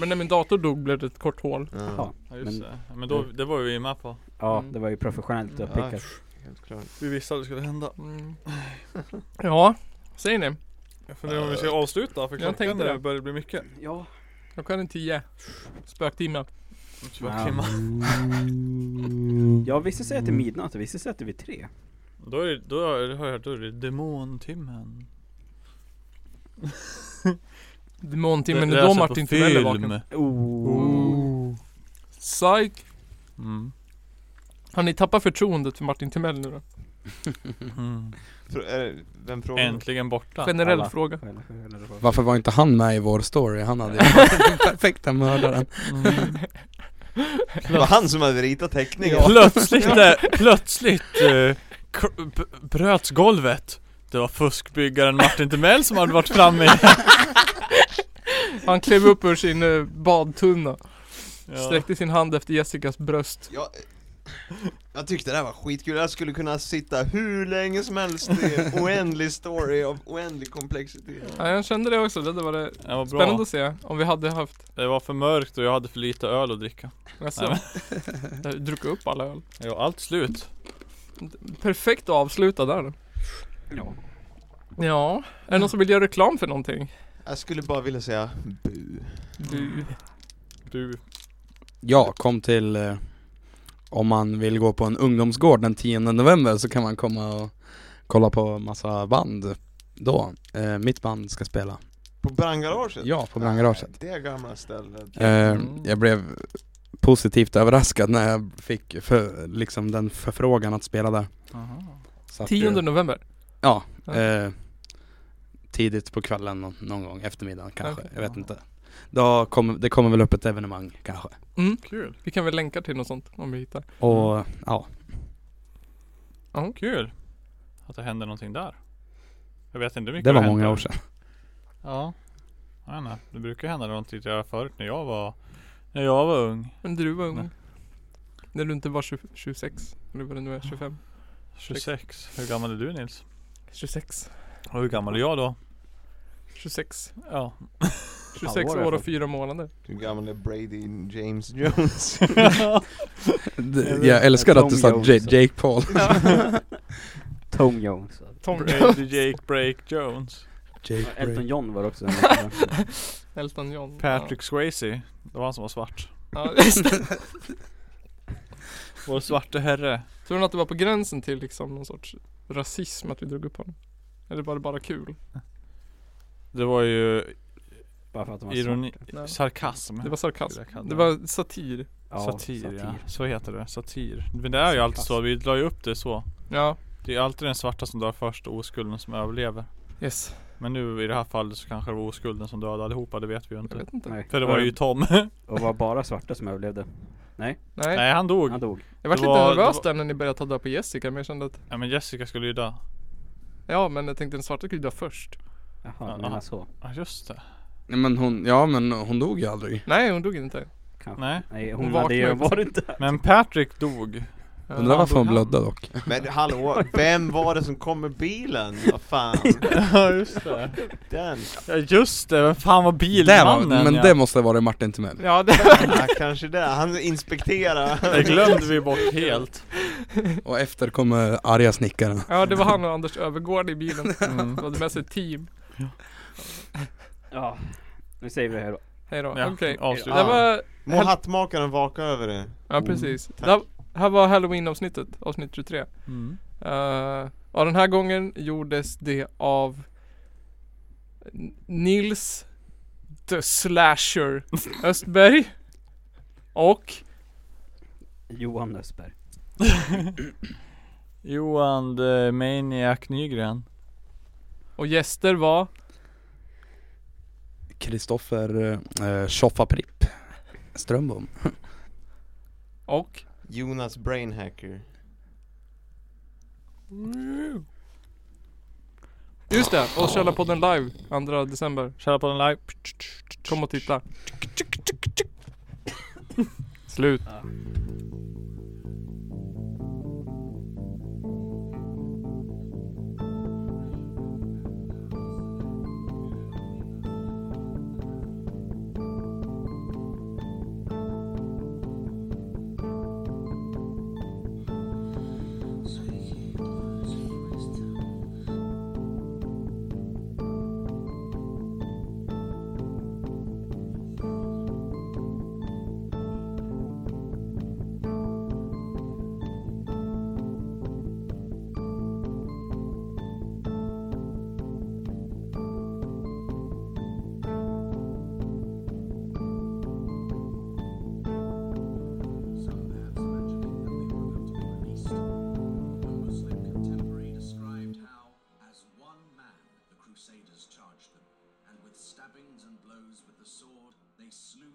Men när min dator dog blev det ett kort hål. Ja, Ja, just det. Men då, det var vi med på Ja, Mm. det var ju professionellt Ja. uppickat. helt klart Vi visste att det skulle hända Mm. Ja, säger ni? Jag funderar om vi ska avsluta för Jag klockan tänkte det. det. börjar bli mycket Ja. Klockan är tio. Spöktimme. Spöktimmar. ja, vissa säger att det är midnatt och vissa säger att det är vid tre. Då är det, då har jag hört, då är det demontimmen Demontimmen Det- är det då jag sett på Martin Timell är vaken. film. Oh. Ooh. Psych. Mm. Har ni tappat förtroendet för Martin Timell nu då? Mm. Frå- är det- Vem frågar? Äntligen borta Generell Alla. fråga. Varför var inte han med i vår story? Han hade ju den perfekta mördaren. Mm. Det var han som hade ritat teckningen! Plötsligt, eh, plötsligt eh, kr- b- bröts golvet Det var fuskbyggaren Martin Timell som hade varit framme i Han klev upp ur sin eh, badtunna. ja. Sträckte sin hand efter Jessicas bröst. Jag, jag tyckte det här var skitkul, jag skulle kunna sitta hur länge som helst i en oändlig story av oändlig komplexitet Ja, jag kände det också. Det var det. Det var Spännande bra att se om vi hade haft. Det var för mörkt och jag hade för lite öl att dricka Alltså, jag druckit upp alla öl. Ja, allt slut Perfekt att avsluta där. Ja. Ja, är det någon som vill göra reklam för någonting? Jag skulle bara vilja säga bu Mm. Du. Du Ja, kom till eh, om man vill gå på en ungdomsgård den 10 november så kan man komma och kolla på massa band då. Eh, mitt band ska spela. På brandgaraget? Ja, på Brandgaraget. Det gamla stället Eh, Mm. jag blev positivt överraskad när jag fick för, liksom den förfrågan att spela där. Aha. Så att, 10 eh, november. Ja, Ja. eh, tidigt på kvällen nå- någon gång, eftermiddagen kanske, Okej. jag vet inte. Då kommer, det kommer väl upp ett evenemang kanske. Mm. Kul Vi kan väl länka till något sånt om vi hittar. Och Mm. ja, Kul Att det hände någonting där Jag vet inte hur mycket det var har hänt många där. år sedan. Ja Jag vet inte. Det brukar hända någonting där jag förut när jag var När jag var ung Men du var Nej. ung. När du inte var 20, 26. Eller vad det nu är, 25. 26 Hur gammal är du Nils? 26. Och hur gammal är jag då? 26. Ja 26 Halvår i alla år och fall. fyra månader. Hur gammal är Brady James Jones? Det- Jag vet Jag inte, älskar Tom att du sa Jones. J- Jake Paul. Tom Jones. Tom Brady Jake Break Jones Jake Elton Ray. John var också Elton John. Patrick Swayze Det var han som var svart Ja. Ja, just det. Vår svarte herre Tror ni att det var på gränsen till liksom någon sorts rasism att vi drog upp honom? Eller var det bara kul? Det var ju Bara för att de var ironi Nej. Sarkasm Det var sarkasm. Jag kan Det det. var satir. Ja, satir, ja, så heter det, satir Men det är ju alltid så, vi la ju upp det så Ja. Det är alltid den svarta som dör först och oskulden som överlever. Yes. Men nu i det här fallet så kanske det var oskulden som dödade allihopa, det vet vi ju inte. vet inte. För det var ju Tom. Och var bara svarta som överlevde? Nej? Nej. Nej han dog. Han dog. Jag var Det lite var- det nervös var- där när ni började ta död på Jessica men jag kände att Ja men Jessica skulle ju dö. Ja men jag tänkte den svarta skulle dö först Jaha, alltså. du Aha. menar så. Ja just det. Nej men hon, ja men hon dog ju aldrig. Nej hon dog inte Kanske. Nej. Nej, Hon hon hade ju vaknade varit där. Men Patrick dog. Ja, Undrar varför hon dog han? blödde dock. Men hallå, vem var det som kom med bilen? Vad fan? Ja just det. Den? Ja just det, vem fan var Där var, bilmannen? men ja. det måste ha varit Martin Timell. Ja det Ja, kanske det. Han det inspekterar. glömde vi bort helt. Och efter kommer arga snickaren. Ja det var han och Anders Övergård i bilen. Mm. De hade med sig ett team. Ja. Nu säger vi det här då. Hej då. Ja, Oh, Okej. avslut. Det var, Må hattmakaren vaka över det. ja precis. Det här var halloween avsnittet, avsnitt 23. Uh, Mm. och den här gången gjordes det av N- Nils The Slasher Östberg. Och Johan Östberg. Johan the Maniac Nygren. Och gäster var Kristoffer eh, Tjoffapripp Strömbom. och Jonas Brainhacker. Just det, och Källarpodden live 2 december. Kära på den live. Kom och titta. Slut. Stabbings and blows with the sword, they slew